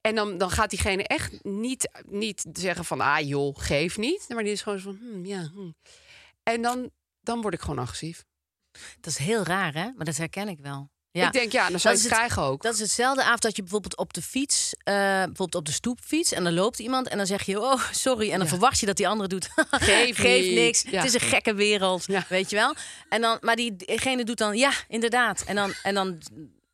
S1: En dan, dan gaat diegene echt niet, niet zeggen van, ah joh, geef niet. Maar die is gewoon zo van, hm, ja. hm. En dan, dan word ik gewoon agressief.
S2: Dat is heel raar, hè? Maar dat herken ik wel. Ja.
S1: Ik denk, ja, dan zou
S2: Dat
S1: je het
S2: is
S1: krijgen ook.
S2: Dat is hetzelfde avond dat je bijvoorbeeld op de fiets, eh, bijvoorbeeld op de stoep fiets, en dan loopt iemand en dan zeg je, oh sorry, en dan
S1: Ja.
S2: verwacht je dat die andere doet.
S1: Geef niet.
S2: niks.
S1: Ja.
S2: Het is een gekke wereld,
S1: Ja.
S2: weet je wel? En dan, maar diegene doet dan, ja, inderdaad. En dan, en dan,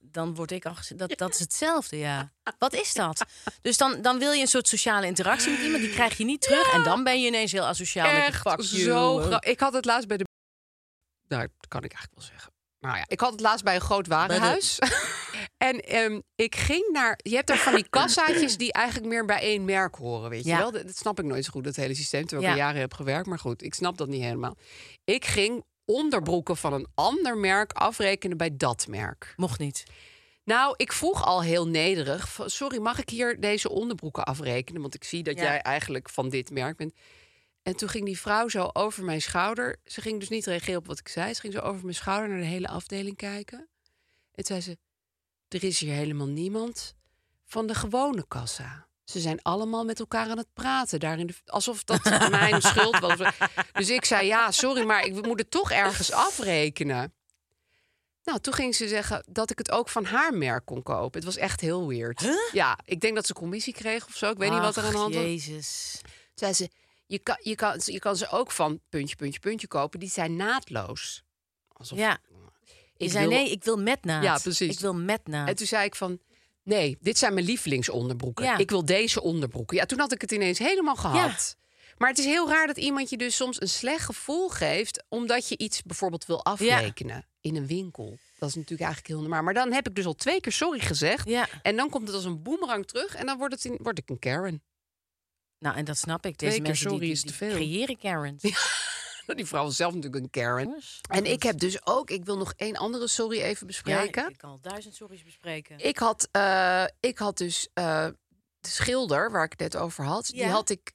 S2: dan word ik al gezien. Dat, dat is hetzelfde, ja. Wat is dat? Dus dan, dan wil je een soort sociale interactie met iemand, die krijg je niet terug, en dan ben je ineens heel asociaal. met je
S1: echt
S2: fuck you.
S1: zo... gra- Ik had het laatst bij de Nou, dat kan ik eigenlijk wel zeggen. Nou ja, ik had het laatst bij een groot warenhuis. en ehm, ik ging naar... Je hebt daar van die kassaatjes die eigenlijk meer bij één merk horen, weet
S2: Ja.
S1: je wel? Dat, dat snap ik nooit zo goed, dat hele systeem. Terwijl ik
S2: Ja.
S1: al jaren heb gewerkt, maar goed, ik snap dat niet helemaal. Ik ging onderbroeken van een ander merk afrekenen bij dat merk.
S2: Mocht niet.
S1: Nou, ik vroeg al heel nederig. van, Sorry, mag ik hier deze onderbroeken afrekenen? Want ik zie dat
S2: Ja.
S1: jij eigenlijk van dit merk bent. En toen ging die vrouw zo over mijn schouder. Ze ging dus niet reageren op wat ik zei. Ze ging zo over mijn schouder naar de hele afdeling kijken. En toen zei ze: Er is hier helemaal niemand van de gewone kassa. Ze zijn allemaal met elkaar aan het praten. Daar in de, alsof dat mijn schuld was. Dus ik zei: Ja, sorry, maar ik moet het toch ergens afrekenen. Nou, toen ging ze zeggen dat ik het ook van haar merk kon kopen. Het was echt heel weird. Ja, ik denk dat ze commissie kreeg of zo. Ik weet niet wat er aan de hand was.
S2: Jezus.
S1: Toen zei ze, je kan, je, kan, je kan ze ook van puntje, puntje, puntje kopen. Die zijn naadloos. Alsof
S2: Ja. Je
S1: ik
S2: zei
S1: wil-
S2: nee, ik wil met naad.
S1: Ja, precies.
S2: Ik wil met naad.
S1: En toen zei ik van, nee, dit zijn mijn lievelingsonderbroeken.
S2: Ja.
S1: Ik wil deze onderbroeken. Ja, toen had ik het ineens helemaal gehad. Maar het is heel raar dat iemand je dus soms een slecht gevoel geeft... omdat je iets bijvoorbeeld wil afrekenen in een winkel. Dat is natuurlijk eigenlijk heel normaal. Maar dan heb ik dus al twee keer sorry gezegd.
S2: Ja.
S1: En dan komt het als een boemerang terug. En dan wordt het in, word ik een Karen.
S2: Nou, en dat snap ik.
S1: Twee
S2: Deze
S1: keer
S2: mensen die,
S1: sorry
S2: die,
S1: is te
S2: die
S1: veel.
S2: creëren Karens.
S1: Die vrouw is zelf natuurlijk een
S2: Oh.
S1: Karen. En ik heb dus ook, ik wil nog één andere sorry even bespreken.
S2: Ja, ik
S1: ik...
S2: kan al duizend sorry's bespreken.
S1: had, eh, ik had dus eh, de schilder waar ik het net over had,
S2: Ja.
S1: die had ik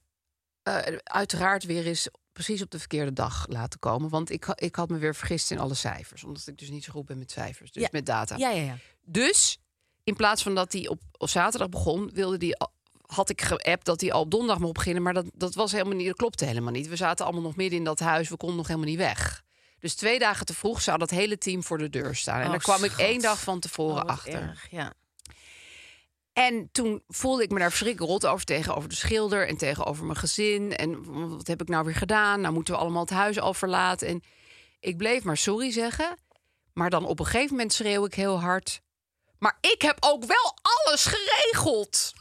S1: eh, uiteraard weer eens precies op de verkeerde dag laten komen. Want ik, ha- ik had me weer vergist in alle cijfers, omdat ik dus niet zo goed ben met cijfers, dus
S2: Ja.
S1: met data.
S2: Ja, ja, ja.
S1: Dus in plaats van dat hij op, op zaterdag begon, wilde die, al- had ik geappt dat hij al op donderdag mocht beginnen. Maar dat, dat, was helemaal niet, dat klopte helemaal niet. We zaten allemaal nog midden in dat huis. We konden nog helemaal niet weg. Dus twee dagen te vroeg zou dat hele team voor de deur staan. En
S2: Oh,
S1: daar kwam ik
S2: schat.
S1: één dag van
S2: Oh,
S1: tevoren
S2: wat
S1: achter.
S2: erg, Ja.
S1: En toen voelde ik me daar verschrikkelijk rot over tegenover de schilder en tegenover mijn gezin. En wat heb ik nou weer gedaan? Nou moeten we allemaal het huis al verlaten. En ik bleef maar sorry zeggen. Maar dan op een gegeven moment schreeuw ik heel hard. Maar ik heb ook wel alles geregeld.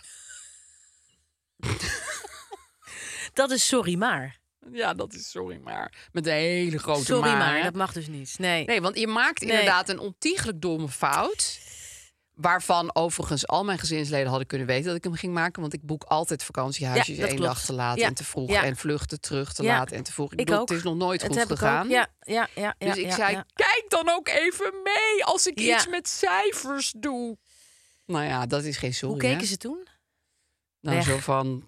S2: Dat is sorry maar.
S1: Ja, dat is sorry maar. Met een hele grote
S2: sorry maar,
S1: hè?
S2: dat mag dus niet. Nee.
S1: Nee, want je maakt
S2: Nee.
S1: inderdaad een ontiegelijk domme fout. Waarvan overigens al mijn gezinsleden hadden kunnen weten dat ik hem ging maken. Want ik boek altijd vakantiehuisjes
S2: Ja, dat
S1: één
S2: klopt.
S1: dag te laat
S2: Ja.
S1: en te vroeg.
S2: Ja.
S1: En vluchten terug te
S2: Ja.
S1: laat en te vroeg. Ik,
S2: Ik
S1: bedoel,
S2: ook.
S1: Het is nog nooit
S2: Het
S1: goed
S2: heb ik ook.
S1: gegaan.
S2: Ja, ja, ja. ja,
S1: Dus ik
S2: ja,
S1: zei,
S2: ja.
S1: kijk dan ook even mee als ik
S2: Ja.
S1: iets met cijfers doe. Nou ja, dat is geen sorry.
S2: Hoe
S1: hè?
S2: keken ze toen?
S1: Nou,
S2: weg?
S1: zo van...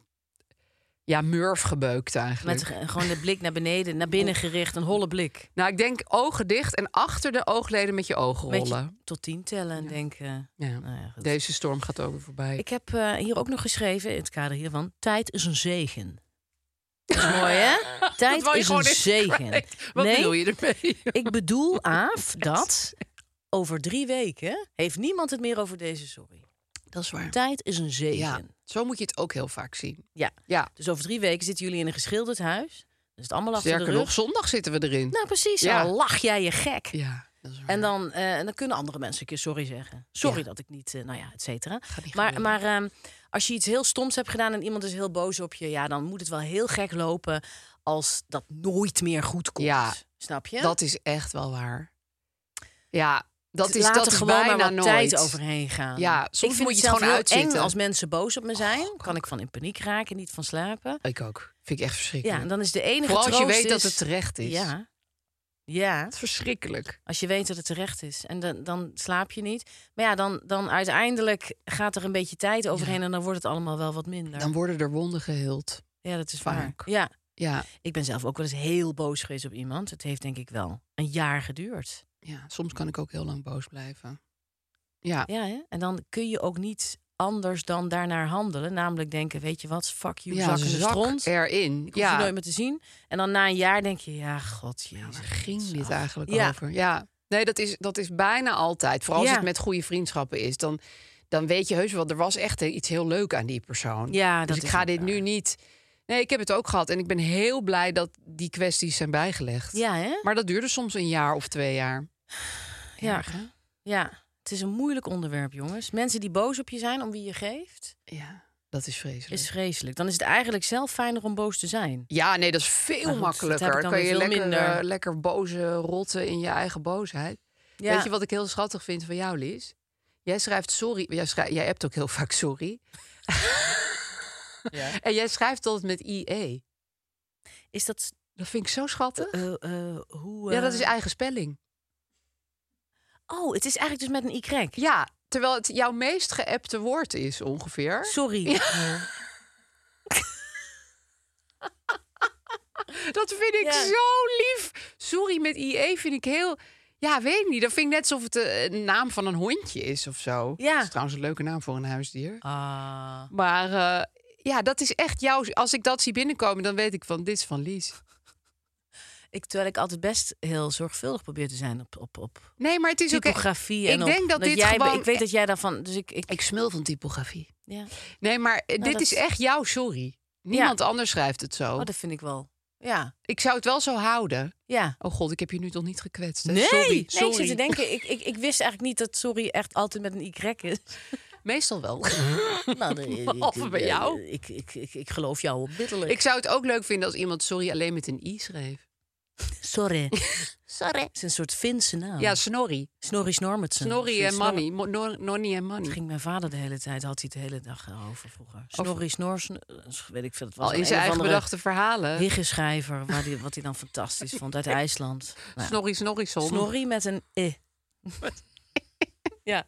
S1: Ja, murf gebeukt eigenlijk.
S2: Met ge- gewoon de blik naar beneden, naar
S1: Oh.
S2: binnen gericht, een holle blik.
S1: Nou, ik denk ogen dicht en achter de oogleden met je ogen
S2: Met je
S1: rollen.
S2: tot tien tellen en denken.
S1: Ja.
S2: Nou ja, goed.
S1: Deze storm gaat ook weer voorbij.
S2: Ik heb eh, hier ook nog geschreven, in het kader hiervan, tijd is een zegen. Dat is mooi, hè? Tijd
S1: wou je
S2: is
S1: gewoon
S2: een
S1: even
S2: zegen.
S1: kwijt. Wat bedoel je ermee?
S2: Ik bedoel, Aaf, dat over drie weken heeft niemand het meer over deze sorry.
S1: Dat is waar.
S2: Tijd is een zegen.
S1: Ja, zo moet je het ook heel vaak zien.
S2: Ja.
S1: Ja.
S2: Dus over drie weken zitten jullie in een geschilderd huis. Dus het allemaal achter
S1: Sterker
S2: de rug.
S1: nog, zondag zitten we erin.
S2: Nou, precies.
S1: Ja.
S2: Dan lach jij je gek.
S1: ja, dat is waar.
S2: En dan, eh, en dan kunnen andere mensen een keer sorry zeggen. Sorry
S1: Ja.
S2: dat ik niet, eh, nou ja, et cetera.
S1: niet
S2: Maar, maar ehm, als je iets heel stoms hebt gedaan en iemand is heel boos op je, ja, dan moet het wel heel gek lopen als dat nooit meer goed komt.
S1: Ja.
S2: Snap je?
S1: Dat is echt wel waar. Ja, dat is,
S2: Laat
S1: dat
S2: er
S1: is
S2: gewoon
S1: bijna
S2: maar wat
S1: nooit.
S2: tijd overheen gaan.
S1: Ja, soms
S2: ik vind
S1: moet je het
S2: zelf
S1: gewoon
S2: heel
S1: uitzitten. Oh,
S2: Eng als mensen boos op me zijn, kan ik van in paniek raken, niet van slapen.
S1: Ik ook. Vind ik echt
S2: Ja,
S1: verschrikkelijk.
S2: en dan is de enige
S1: Vooral als je
S2: troost
S1: weet dat
S2: is-
S1: het terecht is.
S2: Ja. Ja.
S1: Het is verschrikkelijk.
S2: Als je weet dat het terecht is. En dan, dan slaap je niet. Maar ja, dan, dan uiteindelijk gaat er een beetje tijd overheen. En dan wordt het allemaal wel wat minder.
S1: Dan worden er wonden geheeld.
S2: ja, dat is
S1: vaak.
S2: waar. Ja,
S1: Ja,
S2: ik ben zelf ook wel eens heel boos geweest op iemand. Het heeft denk ik wel een jaar geduurd.
S1: ja, soms kan ik ook heel lang boos blijven. Ja,
S2: Ja, hè? En dan kun je ook niet anders dan daarnaar handelen. Namelijk denken, weet je wat, fuck you,
S1: ja
S2: zak in de stront. Ik
S1: erin.
S2: hoef je
S1: ja,
S2: nooit meer te zien. En dan na een jaar denk je, ja, god,
S1: Ja,
S2: jezus.
S1: waar ging
S2: wat
S1: dit
S2: af.
S1: eigenlijk
S2: Ja.
S1: over? Ja, nee, dat is, dat is bijna altijd. Vooral als
S2: Ja.
S1: het met goede vriendschappen is, dan, dan weet je heus wel, er was echt iets heel leuk aan die persoon.
S2: Ja,
S1: dus
S2: dat
S1: ik
S2: is
S1: ga
S2: ook
S1: dit nu
S2: waar.
S1: niet. Nee, ik heb het ook gehad en ik ben heel blij dat die kwesties zijn bijgelegd.
S2: Ja, hè?
S1: Maar dat duurde soms een jaar of twee jaar.
S2: Ja.
S1: Erg, hè?
S2: Ja, het is een moeilijk onderwerp, jongens. Mensen die boos op je zijn om wie je geeft.
S1: Ja. Dat is vreselijk.
S2: Is vreselijk. Dan is het eigenlijk zelf fijner om boos te zijn.
S1: Ja, nee, dat is veel
S2: Maar goed,
S1: makkelijker.
S2: dat heb ik
S1: dan
S2: dan
S1: kan je
S2: weer veel
S1: lekker,
S2: minder.
S1: eh, lekker boze rotten in je eigen boosheid.
S2: Ja.
S1: Weet je wat ik heel schattig vind van jou, Lies? Jij schrijft sorry. Jij, schrijft, jij hebt ook heel vaak sorry. En jij schrijft altijd met IE.
S2: Is dat...
S1: Dat vind ik zo schattig.
S2: eh, eh, hoe,
S1: ja, dat
S2: eh,
S1: is eigen spelling.
S2: Oh, het is eigenlijk dus met een Y.
S1: Ja, terwijl het jouw meest geëpte woord is ongeveer.
S2: Sorry.
S1: Dat vind ik
S2: Ja.
S1: zo lief. Sorry met IE vind ik heel. Ja, weet ik niet. Dat vind ik net alsof het eh, een naam van een hondje is of zo.
S2: Ja.
S1: Dat is trouwens een leuke naam voor een huisdier.
S2: Ah.
S1: Maar eh, ja, dat is echt jouw. Als ik dat zie binnenkomen, dan weet ik van dit is van Lies.
S2: Ik, terwijl ik altijd best heel zorgvuldig probeer te zijn op, op, op
S1: Nee, maar het is
S2: e-
S1: ook.
S2: typografie.
S1: Ik
S2: en op-
S1: denk dat dit
S2: jij,
S1: gewoon-
S2: Ik weet dat jij daarvan... Dus ik... ik,
S1: Ik smul van typografie.
S2: ja.
S1: Nee, maar eh, dit
S2: Nou, dat-
S1: is echt jouw sorry. Niemand anders schrijft het zo.
S2: Oh, dat vind ik wel. Ja.
S1: Ik zou het wel zo houden.
S2: Ja.
S1: Oh god, ik heb je nu toch niet gekwetst? hè?
S2: Nee,
S1: sorry,
S2: nee, ik
S1: sorry.
S2: zit te denken, ik, ik, ik wist eigenlijk niet dat sorry echt altijd met een y is.
S1: Meestal wel.
S2: Nou, nee, ik-
S1: Behalve bij
S2: eh,
S1: jou.
S2: Ik, ik, ik, ik geloof jou onmiddellijk.
S1: ik zou het ook leuk vinden als iemand sorry alleen met een i schreef.
S2: Sorry. Sorry. Het is een soort Finse naam.
S1: Ja, snorri.
S2: Snorri Snormetsen.
S1: Snorri en
S2: Snorri- eh,
S1: money. Mo- nor- Nonnie en
S2: Dat
S1: money.
S2: ging mijn vader de hele tijd, had hij het de hele dag over vroeger. Snorri Snor, Snor- weet ik veel. Het was
S1: Al
S2: een
S1: in zijn
S2: een of
S1: eigen
S2: andere
S1: bedachte verhalen.
S2: Higgeschrijver, waar die, wat hij dan fantastisch vond, uit IJsland. Nou,
S1: Snorri, snorri, son.
S2: Snorri met een e. ja,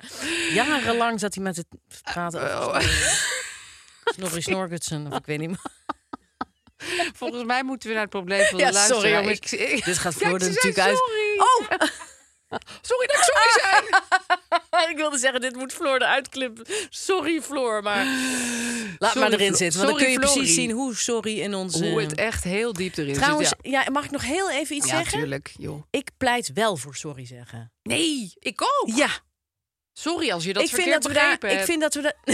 S2: jarenlang zat hij met het praten over Snorri- Snorri Snorkutsen, of ik weet niet meer.
S1: Volgens mij moeten we naar het probleem van de
S2: Ja, sorry,
S1: luisteraar.
S2: jongens.
S1: Ik- ik-
S2: Dit gaat
S1: Ja, ik
S2: Floor er
S1: zei
S2: natuurlijk uit.
S1: sorry. Ah.
S2: Oh!
S1: Sorry dat ik sorry zei.
S2: Oh! ik wilde zeggen, dit moet Floor eruit klippen. Sorry, Floor, maar laat
S1: Sorry,
S2: maar erin
S1: Flo-
S2: zitten. Want dan
S1: sorry,
S2: kun je precies
S1: Florie.
S2: zien hoe sorry in onze...
S1: Hoe het echt heel diep erin
S2: Trouwens,
S1: zit.
S2: ja. mag ik nog heel even iets
S1: Ja,
S2: zeggen?
S1: natuurlijk, joh.
S2: Ik pleit wel voor sorry zeggen.
S1: Nee, ik ook.
S2: Ja,
S1: Sorry als je dat
S2: ik, vind
S1: verkeerd
S2: dat we daar,
S1: begrepen
S2: ik
S1: hebt.
S2: vind dat we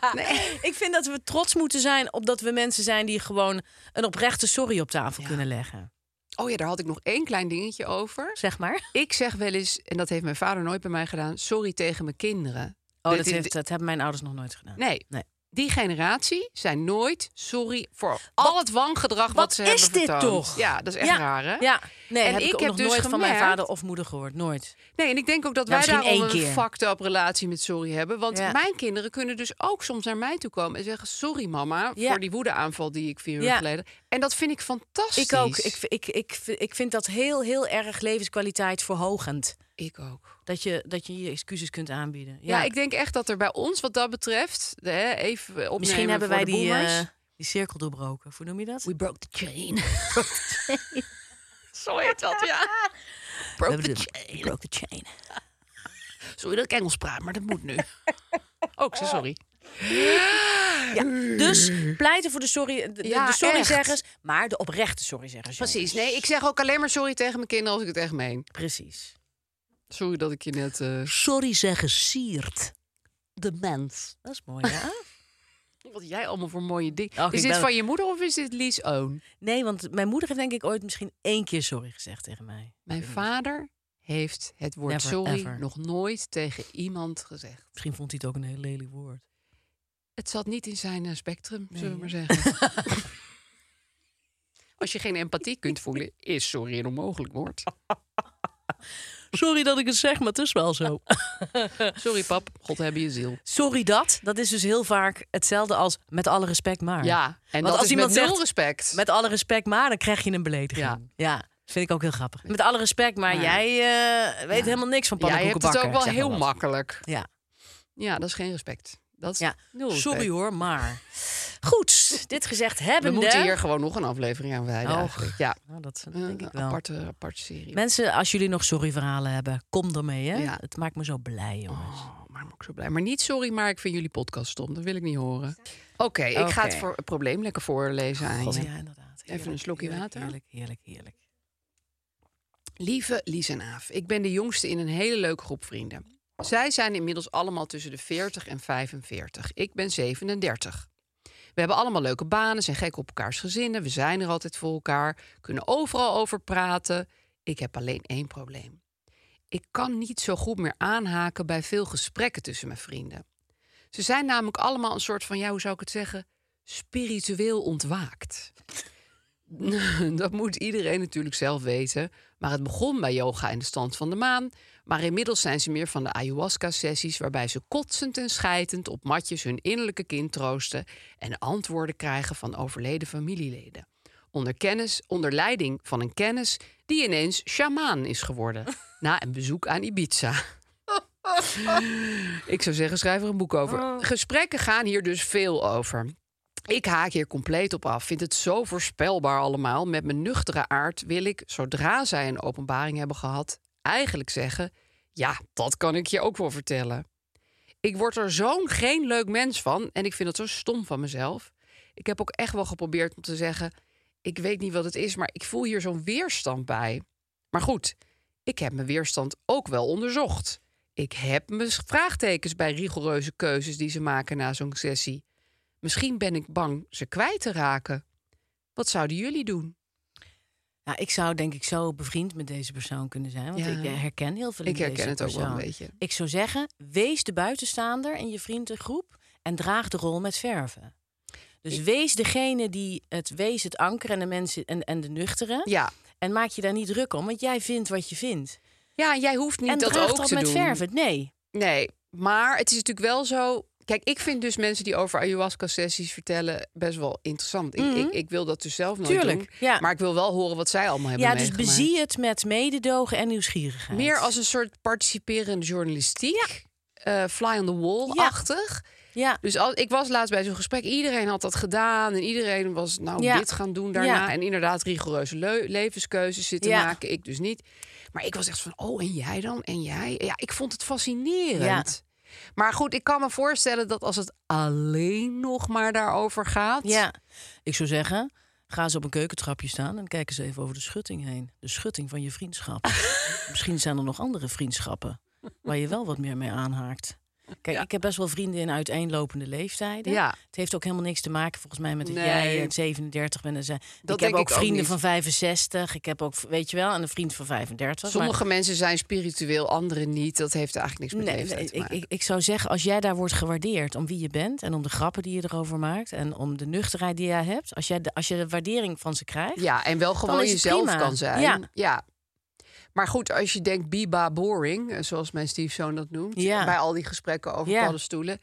S2: daar- ik vind dat we trots moeten zijn op dat we mensen zijn die gewoon een oprechte sorry op tafel kunnen leggen.
S1: Oh ja, daar had ik nog één klein dingetje over.
S2: Zeg maar.
S1: Ik zeg wel eens, en dat heeft mijn vader nooit bij mij gedaan... sorry tegen mijn kinderen.
S2: Oh,
S1: Dit
S2: dat,
S1: is-
S2: heeft, dat hebben mijn ouders nog nooit gedaan.
S1: Nee.
S2: Nee.
S1: Die generatie zijn nooit sorry voor al het wangedrag wat,
S2: wat
S1: ze
S2: is
S1: hebben
S2: dit
S1: vertoond.
S2: toch?
S1: Ja, dat is echt
S2: ja,
S1: raar, hè?
S2: Ja. Nee,
S1: En
S2: heb ik,
S1: ik
S2: ook
S1: heb
S2: nog
S1: dus
S2: nooit van mijn
S1: gemerkt-
S2: vader of moeder gehoord. Nooit.
S1: Nee, en ik denk ook dat
S2: Ja,
S1: wij
S2: misschien
S1: daar
S2: één
S1: al een
S2: keer.
S1: fucked up relatie met sorry hebben. Want
S2: Ja.
S1: mijn kinderen kunnen dus ook soms naar mij toe komen en zeggen... sorry mama,
S2: Ja.
S1: voor die woedeaanval die ik vier uur
S2: Ja.
S1: geleden... En dat vind ik fantastisch.
S2: Ik ook. Ik, ik, ik, ik vind dat heel, heel erg levenskwaliteit verhogend.
S1: Ik ook.
S2: Dat je dat je, je excuses kunt aanbieden.
S1: Ja. ik denk echt dat er bij ons wat dat betreft... de- hè, even opnemen
S2: Misschien hebben
S1: voor
S2: wij
S1: de
S2: die,
S1: boomers.
S2: eh, die cirkel doorbroken. Hoe noem je dat?
S1: We broke the chain. Zo heet dat, ja. Broke the chain.
S2: chain. Broke the chain.
S1: Sorry dat ik Engels praat, maar dat moet nu. ook, zo sorry.
S2: Dus pleiten voor de sorry, de- de, de
S1: Ja,
S2: sorryzeggers, maar de oprechte sorryzeggers. jongens.
S1: Precies. Nee, ik zeg ook alleen maar sorry tegen mijn kinderen als ik het echt meen.
S2: Precies.
S1: Sorry dat ik je net... eh,
S2: Sorry zeggen siert de mens. Dat is mooi, ja?
S1: Wat jij allemaal voor mooie dingen.
S2: Och,
S1: is
S2: ik
S1: dit
S2: ben-
S1: van je moeder of is dit Lies Own?
S2: nee, want mijn moeder heeft denk ik ooit misschien één keer sorry gezegd tegen mij.
S1: Mijn vader heeft het woord
S2: Never,
S1: sorry
S2: ever.
S1: nog nooit tegen iemand gezegd.
S2: Misschien vond hij het ook een heel lelijk woord.
S1: Het zat niet in zijn eh, spectrum, zullen we maar zeggen. Als je geen empathie kunt voelen, is sorry een onmogelijk woord.
S2: Sorry dat ik het zeg, maar het is wel zo.
S1: Sorry pap, God hebben je ziel.
S2: Sorry dat, dat is dus heel vaak hetzelfde als met alle respect maar.
S1: Ja, en
S2: Want
S1: dat
S2: als
S1: is
S2: iemand
S1: met nul
S2: zegt-
S1: respect.
S2: Met alle respect maar, dan krijg je een belediging.
S1: Ja.
S2: Ja. dat vind ik ook heel grappig. Met alle respect, maar,
S1: Maar-
S2: jij eh, weet helemaal niks van
S1: Jij hebt
S2: pannenkoeken
S1: het ook wel
S2: bakken, zeg maar
S1: heel
S2: wat.
S1: makkelijk.
S2: Ja.
S1: Ja, dat is geen respect. Dat is
S2: Ja,
S1: nul
S2: sorry
S1: respect.
S2: hoor, maar. Goed, dit gezegd
S1: We
S2: hebben
S1: moeten hier gewoon nog een aflevering aan wijden
S2: Och.
S1: eigenlijk. Ja,
S2: Nou, dat
S1: Eh,
S2: denk ik
S1: een
S2: wel.
S1: aparte, aparte serie.
S2: Mensen, als jullie nog sorry verhalen hebben, kom ermee. Hè?
S1: Ja.
S2: Het maakt me zo blij, jongens.
S1: Oh, maar ik ben ook zo blij. Maar niet sorry, maar ik vind jullie podcast stom. Dat wil ik niet horen. Oké, ik ga het
S2: Oké.
S1: voor, het probleem lekker voorlezen aan
S2: God,
S1: je.
S2: ja, inderdaad. Heerlijk,
S1: een slokje
S2: heerlijk,
S1: water.
S2: Heerlijk, heerlijk, heerlijk.
S1: Lieve Lies en Aaf, ik ben de jongste in een hele leuke groep vrienden. Zij zijn inmiddels allemaal tussen de 40 en 45. Ik ben 37. We hebben allemaal leuke banen, zijn gek op elkaars gezinnen. We zijn er altijd voor elkaar, kunnen overal over praten. Ik heb alleen één probleem. Ik kan niet zo goed meer aanhaken bij veel gesprekken tussen mijn vrienden. Ze zijn namelijk allemaal een soort van, ja, hoe zou ik het zeggen, spiritueel ontwaakt. Dat moet iedereen natuurlijk zelf weten. Maar het begon bij yoga in de stand van de maan. Maar inmiddels zijn ze meer van de ayahuasca-sessies, waarbij ze kotsend en schijtend op matjes hun innerlijke kind troosten en antwoorden krijgen van overleden familieleden. Onder, kennis, onder leiding van een kennis die ineens sjamaan is geworden na een bezoek aan Ibiza. Ik zou zeggen, schrijf er een boek over. Gesprekken gaan hier dus veel over. Ik haak hier compleet op af. Vind het zo voorspelbaar allemaal. Met mijn nuchtere aard wil ik, zodra zij een openbaring hebben gehad, eigenlijk zeggen: Ja, dat kan ik je ook wel vertellen. Ik word er zo'n geen leuk mens van en ik vind het zo stom van mezelf. Ik heb ook echt wel geprobeerd om te zeggen: Ik weet niet wat het is, maar ik voel hier zo'n weerstand bij. Maar goed, ik heb mijn weerstand ook wel onderzocht. Ik heb mijn vraagtekens bij rigoureuze keuzes die ze maken na zo'n sessie. Misschien ben ik bang ze kwijt te raken. Wat zouden jullie doen?
S2: Ja, Nou, ik zou denk ik zo bevriend met deze persoon kunnen zijn. Want
S1: Ja.
S2: ik eh, herken heel veel in
S1: Ik herken
S2: deze
S1: het ook wel een
S2: persoon.
S1: beetje.
S2: Ik zou zeggen, wees de buitenstaander in je vriendengroep... en draag de rol met verven. Dus wees degene die het wees, het anker en de mensen en, en de nuchteren.
S1: Ja,
S2: En maak je daar niet druk om, want jij vindt wat je vindt.
S1: ja jij hoeft niet
S2: en
S1: dat
S2: draag
S1: ook
S2: dat
S1: te
S2: met
S1: doen.
S2: verven. Nee,
S1: Nee, maar het is natuurlijk wel zo. Kijk, ik vind dus mensen die over ayahuasca-sessies vertellen best wel interessant. Ik- ik, ik, wil dat dus zelf nooit
S2: Mhm. Tuurlijk,
S1: doen.
S2: ja.
S1: Maar ik wil wel horen wat zij allemaal hebben
S2: ja, dus
S1: meegemaakt.
S2: bezie het met mededogen en nieuwsgierigheid.
S1: Meer als een soort participerende journalistiek. eh, fly on the wall-achtig.
S2: ja.
S1: Dus al, ik was laatst bij zo'n gesprek. Iedereen had dat gedaan. En iedereen was nou
S2: Ja.
S1: dit gaan doen daarna.
S2: Ja.
S1: En inderdaad rigoureuze leu- levenskeuzes zitten
S2: Ja.
S1: maken. Ik dus niet. Maar ik was echt van, oh, en jij dan? En jij? Ja, ik vond het fascinerend. Maar goed, ik kan me voorstellen dat als het alleen nog maar daarover gaat...
S2: Ja, ik zou zeggen, ga ze op een keukentrapje staan en kijk eens even over de schutting heen. De schutting van je vriendschap. Misschien zijn er nog andere vriendschappen waar je wel wat meer mee aanhaakt. Kijk, ik heb best wel vrienden in uiteenlopende leeftijden.
S1: Ja.
S2: Het heeft ook helemaal niks te maken volgens mij met dat
S1: Nee.
S2: jij eh, 37 bent en zij.
S1: Dat
S2: ik heb
S1: denk
S2: ook
S1: ik ook
S2: vrienden
S1: niet.
S2: van 65. Ik heb ook, weet je wel, een vriend van 35. maar-
S1: Sommige mensen zijn spiritueel, anderen niet. Dat heeft eigenlijk niks met
S2: Nee,
S1: leeftijd
S2: nee,
S1: te
S2: ik,
S1: maken.
S2: ik, ik zou zeggen, als jij daar wordt gewaardeerd om wie je bent en om de grappen die je erover maakt en om de nuchterheid die jij hebt, als, jij de, als je de waardering van ze krijgt,
S1: Ja, en wel gewoon
S2: is het
S1: jezelf
S2: prima.
S1: kan zijn.
S2: Ja.
S1: Maar goed, als je denkt biba boring, eh, zoals mijn stiefzoon dat noemt,
S2: Ja.
S1: bij al die gesprekken over
S2: Ja.
S1: paddenstoelen.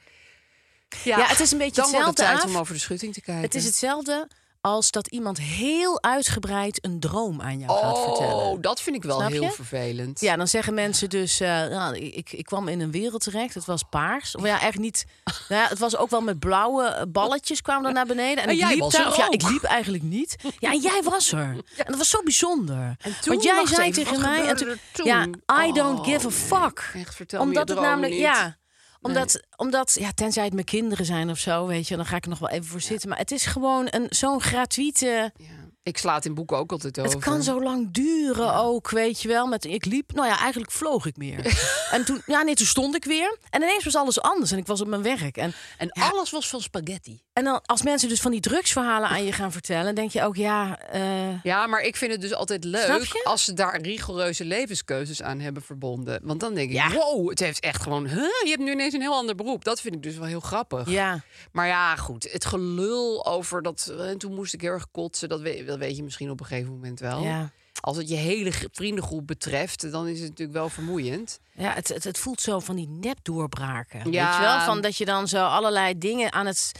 S2: Ja, het is een beetje
S1: dan wordt
S2: hetzelfde,
S1: het tijd
S2: Aaf.
S1: om over de schutting te kijken.
S2: het is hetzelfde als dat iemand heel uitgebreid een droom aan jou gaat
S1: Oh,
S2: vertellen.
S1: dat vind ik wel
S2: Snap
S1: heel
S2: je?
S1: vervelend.
S2: Ja, dan zeggen mensen dus, eh, nou, ik, ik kwam in een wereld terecht, het was paars. Of ja, eigenlijk niet. Nou ja, het was ook wel met blauwe eh, balletjes kwamen dan naar beneden. En,
S1: En
S2: ik
S1: jij
S2: liep
S1: was
S2: daar,
S1: er
S2: of ja,
S1: ook.
S2: ik liep eigenlijk niet. Ja, en jij was er. En dat was zo bijzonder.
S1: En toen,
S2: Want jij
S1: wacht
S2: zei
S1: even, wat
S2: tegen mij, en
S1: gebeurde er
S2: ja,
S1: toen?
S2: I don't
S1: Oh,
S2: give a fuck.
S1: nee. Echt, vertel me je
S2: omdat het
S1: droom
S2: namelijk,
S1: niet.
S2: ja, omdat, omdat, ja, tenzij het mijn kinderen zijn of zo, weet je, dan ga ik er nog wel even voor zitten. Maar het is gewoon een zo'n gratuite.
S1: Ja. Ik sla het in boeken ook altijd over.
S2: Het kan zo lang duren ook, weet je wel. Met, ik liep, nou ja, eigenlijk vloog ik meer. en toen, ja, nee, toen stond ik weer. En ineens was alles anders en ik was op mijn werk. En,
S1: En
S2: ja,
S1: alles was van spaghetti.
S2: en dan als mensen dus van die drugsverhalen aan je gaan vertellen, denk je ook, ja, eh,
S1: Ja, maar ik vind het dus altijd
S2: Snap
S1: leuk
S2: je?
S1: als ze daar rigoureuze levenskeuzes aan hebben verbonden. Want dan denk ik,
S2: Ja.
S1: wow, het heeft echt gewoon... Huh, je hebt nu ineens een heel ander beroep. Dat vind ik dus wel heel grappig.
S2: ja.
S1: Maar ja, goed, het gelul over dat... En toen moest ik heel erg kotsen, dat weet, dat weet je misschien op een gegeven moment wel.
S2: Ja.
S1: Als het je hele g- vriendengroep betreft, dan is het natuurlijk wel vermoeiend.
S2: Ja, het, het, het voelt zo van die nepdoorbraken.
S1: Ja.
S2: Weet je wel? Van dat je dan zo allerlei dingen aan het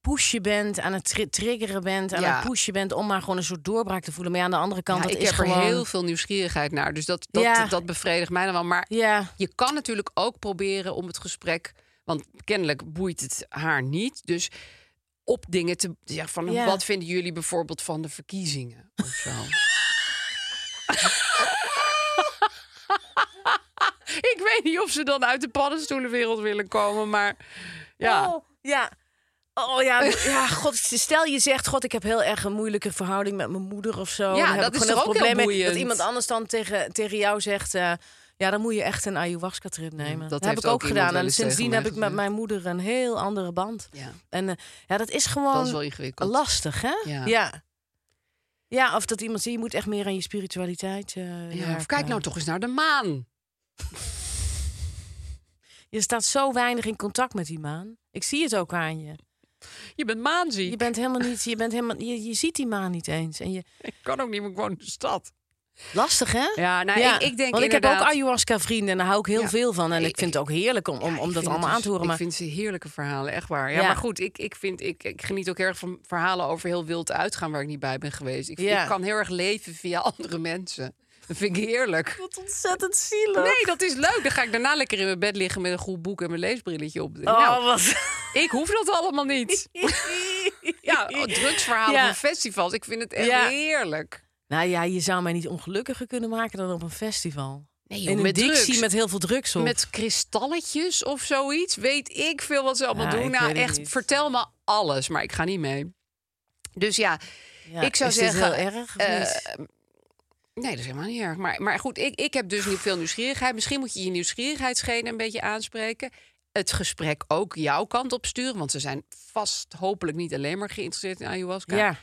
S2: pushen bent, aan het tri- triggeren bent, aan
S1: Ja.
S2: het pushen bent om maar gewoon een soort doorbraak te voelen. Maar ja, aan de andere kant,
S1: Ja,
S2: dat
S1: ik
S2: is
S1: heb
S2: gewoon...
S1: er heel veel nieuwsgierigheid naar, dus dat, dat,
S2: Ja.
S1: dat bevredigt mij dan wel. Maar
S2: Ja,
S1: Je kan natuurlijk ook proberen om het gesprek, want kennelijk boeit het haar niet. Dus op dingen te zeggen van
S2: Ja.
S1: wat vinden jullie bijvoorbeeld van de verkiezingen of zo. Ik weet niet of ze dan uit de paddenstoelenwereld willen komen, maar ja.
S2: Oh, ja. Oh ja, ja, god, stel je zegt, god, ik heb heel erg een moeilijke verhouding met mijn moeder of zo.
S1: Ja,
S2: Dan heb
S1: dat is
S2: ik gewoon
S1: toch
S2: heel
S1: ook
S2: veel
S1: heel
S2: problemen.
S1: boeiend?
S2: Dat iemand anders dan tegen, tegen jou zegt, eh, ja, dan moet je echt een ayahuasca-trip nemen.
S1: Mm, dat
S2: heb
S1: heeft
S2: ik ook,
S1: ook iemand
S2: gedaan.
S1: wel
S2: En
S1: eens
S2: sindsdien
S1: tegen mij
S2: heb ik met
S1: gezegd.
S2: mijn moeder een heel andere band.
S1: Ja.
S2: En eh, ja, dat is gewoon
S1: Dat is wel ingewikkeld.
S2: lastig, hè?
S1: Ja.
S2: ja. Ja, of dat iemand zegt, je moet echt meer aan je
S1: nou
S2: spiritualiteit eh,
S1: Ja, of
S2: werken.
S1: kijk nou toch eens naar de maan.
S2: Je staat zo weinig in contact met die maan. Ik zie het ook aan je.
S1: Je bent maanziek.
S2: Je bent helemaal niet, je bent helemaal, je, je ziet die maan niet eens. En je,
S1: Ik kan ook niet, meer gewoon in de stad.
S2: lastig hè?
S1: Ja, nou, ik- ik denk
S2: Want ik
S1: inderdaad-
S2: heb ook ayahuasca vrienden en daar hou ik heel
S1: Ja.
S2: veel van. En
S1: Nee,
S2: ik vind het ook heerlijk om, om,
S1: Ja,
S2: om
S1: ik
S2: dat
S1: vind
S2: allemaal
S1: het
S2: aan
S1: dus-
S2: te horen. Maar
S1: Ik vind ze heerlijke verhalen, echt waar. Ja,
S2: Ja.
S1: maar goed, ik, ik, vind, ik, ik geniet ook erg van verhalen over heel wild uitgaan waar ik niet bij ben geweest. Ik,
S2: Ja.
S1: ik kan heel erg leven via andere mensen. Dat vind ik heerlijk.
S2: wat ontzettend zielig.
S1: Nee, dat is leuk. Dan ga ik daarna lekker in mijn bed liggen met een goed boek en mijn leesbrilletje op.
S2: Oh,
S1: Nou,
S2: wat.
S1: ik hoef dat allemaal niet. Ja, oh, drugsverhalen
S2: Ja.
S1: van festivals. Ik vind het echt
S2: Ja.
S1: heerlijk.
S2: Nou ja, je zou mij niet ongelukkiger kunnen maken dan op een festival.
S1: Nee,
S2: in een
S1: met
S2: dictie
S1: drugs.
S2: met heel veel drugs op.
S1: Met kristalletjes of zoiets. Weet ik veel wat ze allemaal
S2: Ja,
S1: doen.
S2: ik
S1: Nou,
S2: weet het
S1: echt,
S2: niet.
S1: vertel me alles. Maar ik ga niet mee. Dus ja,
S2: Ja,
S1: ik zou
S2: is dit
S1: zeggen...
S2: heel erg. of
S1: eh,
S2: niet?
S1: nee, dat is helemaal niet erg. Maar, maar goed, ik, ik heb dus niet veel nieuwsgierigheid. Misschien moet je je nieuwsgierigheidsgenen een beetje aanspreken. Het gesprek ook jouw kant op sturen. Want ze zijn vast hopelijk niet alleen maar geïnteresseerd in ayahuasca.
S2: ja.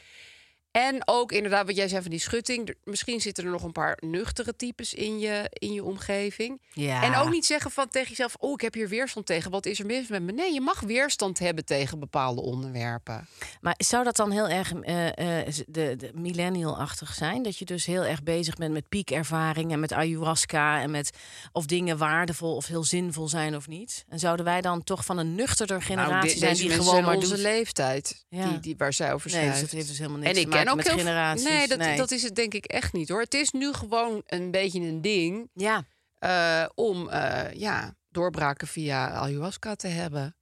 S1: En ook inderdaad, wat jij zei van die schutting. er- Misschien zitten er nog een paar nuchtere types in je, in je omgeving.
S2: Ja.
S1: En ook niet zeggen van tegen jezelf: Oh, ik heb hier weerstand tegen. Wat is er mis met me? Nee, je mag weerstand hebben tegen bepaalde onderwerpen.
S2: Maar zou dat dan heel erg eh, eh, de, de millennial-achtig zijn? Dat je dus heel erg bezig bent met piekervaring en met ayahuasca en met of dingen waardevol of heel zinvol zijn of niet? En zouden wij dan toch van een nuchterder generatie
S1: Nou, de-
S2: zijn
S1: deze
S2: die
S1: mensen
S2: gewoon
S1: zijn
S2: maar
S1: onze
S2: doet?
S1: leeftijd.
S2: Ja.
S1: Die, die, waar zij over
S2: Nee, dus
S1: schrijft.
S2: dat heeft dus helemaal niks
S1: en ik
S2: te maken
S1: ken ook
S2: met
S1: heel veel-
S2: generaties.
S1: Nee dat,
S2: Nee.
S1: dat is het denk ik echt niet hoor. Het is nu gewoon een beetje een ding
S2: Ja,
S1: eh, om eh, ja, doorbraken via ayahuasca te hebben.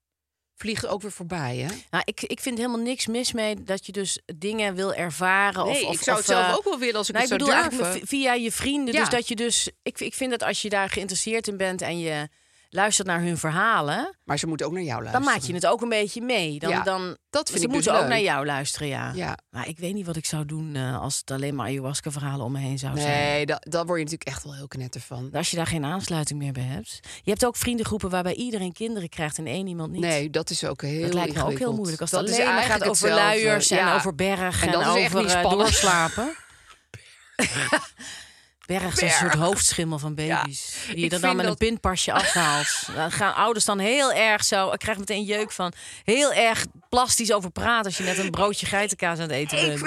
S1: Vliegt ook weer voorbij, hè?
S2: nou, ik, ik vind helemaal niks mis mee dat je dus dingen wil ervaren. of-
S1: Nee,
S2: of,
S1: ik zou
S2: of,
S1: het zelf
S2: eh,
S1: ook wel willen als ik
S2: nou,
S1: het
S2: ik
S1: zou
S2: bedoel
S1: durven.
S2: eigenlijk via je vrienden.
S1: Ja.
S2: Dus dat je dus. Ik, ik vind dat als je daar geïnteresseerd in bent en je luistert naar hun verhalen.
S1: Maar ze moeten ook naar jou
S2: dan
S1: luisteren.
S2: maak je het ook een beetje mee. Dan,
S1: Ja,
S2: dan,
S1: dat vind
S2: ze
S1: ik
S2: moeten
S1: dus
S2: ook
S1: leuk.
S2: naar jou luisteren, ja.
S1: Ja.
S2: Maar ik weet niet wat ik zou doen eh, als het alleen maar ayahuasca-verhalen om me heen zou zijn.
S1: Nee, dat, daar word je natuurlijk echt wel heel knetter van.
S2: Als je daar geen aansluiting meer bij hebt. Je hebt ook vriendengroepen waarbij iedereen kinderen krijgt en één iemand niet.
S1: Nee, dat is ook heel
S2: dat lijkt me ook heel
S1: ingewikkeld.
S2: moeilijk. Als
S1: dat
S2: het
S1: is
S2: alleen maar gaat
S1: eigenlijk
S2: over
S1: hetzelfde.
S2: luiers en
S1: Ja.
S2: over bergen
S1: En
S2: en,
S1: dat is echt
S2: over
S1: niet
S2: eh,
S1: spannend.
S2: doorslapen. Berg is een
S1: Berg.
S2: soort hoofdschimmel van baby's. Die je
S1: ik
S2: er dan
S1: vind
S2: met
S1: dat-
S2: een pinpasje afhaalt. Dan gaan ouders dan heel erg zo... Ik krijg meteen jeuk van. Heel erg plastisch over praten als je net een broodje geitenkaas aan het eten bent.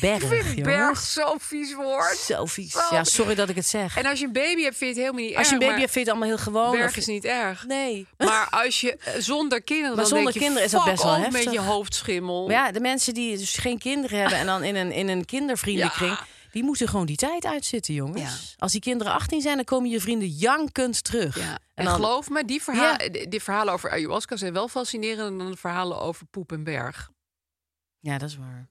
S2: berg, jongens.
S1: Berg, zo'n vies woord.
S2: Zo vies. Ja, sorry dat ik het zeg.
S1: En als je een baby hebt, vind je het helemaal niet
S2: Als je een
S1: erg. maar
S2: baby hebt, vind je het allemaal heel gewoon.
S1: Berg
S2: Of-
S1: is niet erg.
S2: Nee.
S1: Maar als je eh, zonder kinderen,
S2: Maar
S1: dan
S2: zonder
S1: denk je,
S2: kinderen is dat
S1: fuck
S2: best wel
S1: off
S2: heftig.
S1: met je hoofdschimmel.
S2: Maar ja, de mensen die dus geen kinderen hebben en dan in een, in een kindervriendenkring... die moeten gewoon die tijd uitzitten, jongens.
S1: Ja.
S2: Als die kinderen 18 zijn, dan komen je vrienden jankend terug.
S1: Ja. En,
S2: dan-
S1: geloof me, die, verha-
S2: Ja.
S1: die verhalen over ayahuasca zijn wel fascinerender dan de verhalen over poep en berg.
S2: Ja, dat is waar.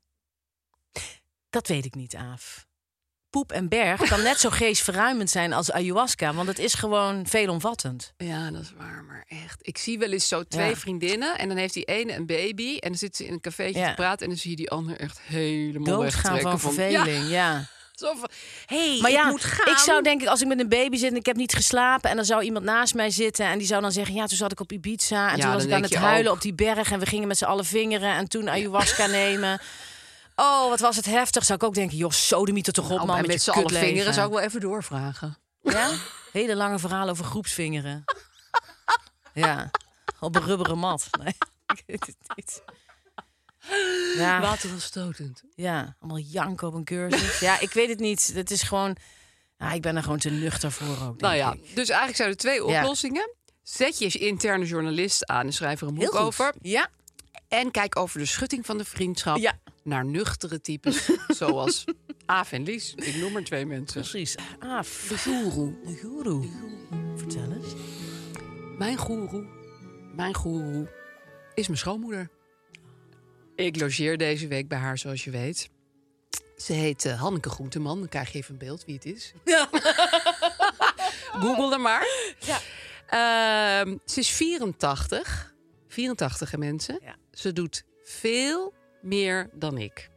S2: Dat weet ik niet, Aaf. Poep en berg kan net zo geestverruimend zijn als ayahuasca... want het is gewoon veelomvattend.
S1: Ja, dat is waar, maar echt. Ik zie wel eens zo twee
S2: Ja.
S1: vriendinnen en dan heeft die ene een baby en dan zit ze in een cafeetje
S2: Ja.
S1: te praten en dan zie je die ander echt helemaal
S2: Doodgaan
S1: wegtrekken
S2: van verveling, ja.
S1: Ja, zo van, hey,
S2: Maar ja,
S1: ik moet gaan.
S2: ik zou denk ik, als ik met een baby zit en ik heb niet geslapen... en dan zou iemand naast mij zitten en die zou dan zeggen... ja, toen zat ik op Ibiza en
S1: Ja,
S2: toen
S1: dan
S2: was ik aan
S1: denk
S2: het
S1: je
S2: huilen
S1: ook.
S2: op die berg... en we gingen met z'n allen vingeren en toen ayahuasca nemen. Oh, wat was het heftig. Zou ik ook denken, joh, sodemiet er toch op,
S1: Nou,
S2: man,
S1: en
S2: met,
S1: met z'n
S2: je
S1: allen
S2: kutleven.
S1: vingeren zou ik wel even doorvragen.
S2: Ja? Hele lange verhaal over groepsvingeren. ja, op een rubberen mat. Nee, ik weet het niet. Ja.
S1: Water was stotend.
S2: Ja, allemaal janken op een cursus. Ja, ik weet het niet. Het is gewoon... Ah, ik ben er gewoon te nuchter voor ook, denk
S1: Nou ja,
S2: ik.
S1: dus eigenlijk zijn er twee
S2: Ja.
S1: oplossingen. Zet je interne journalist aan en schrijf er een
S2: Heel
S1: boek
S2: goed.
S1: over.
S2: Ja.
S1: En kijk over de schutting van de vriendschap
S2: Ja.
S1: naar nuchtere types zoals Aaf en Lies. Ik noem maar twee mensen.
S2: Precies. Ah, de guru. De guru. Vertel eens.
S1: Mijn goeroe, mijn goeroe is mijn schoonmoeder. Ik logeer deze week bij haar, zoals je weet. Ze heet eh, Hanneke Groenteman. Dan krijg je even een beeld wie het is. Google er maar. Ehm, ze is 84. 84 hè, mensen.
S2: Ja.
S1: Ze doet veel meer dan ik.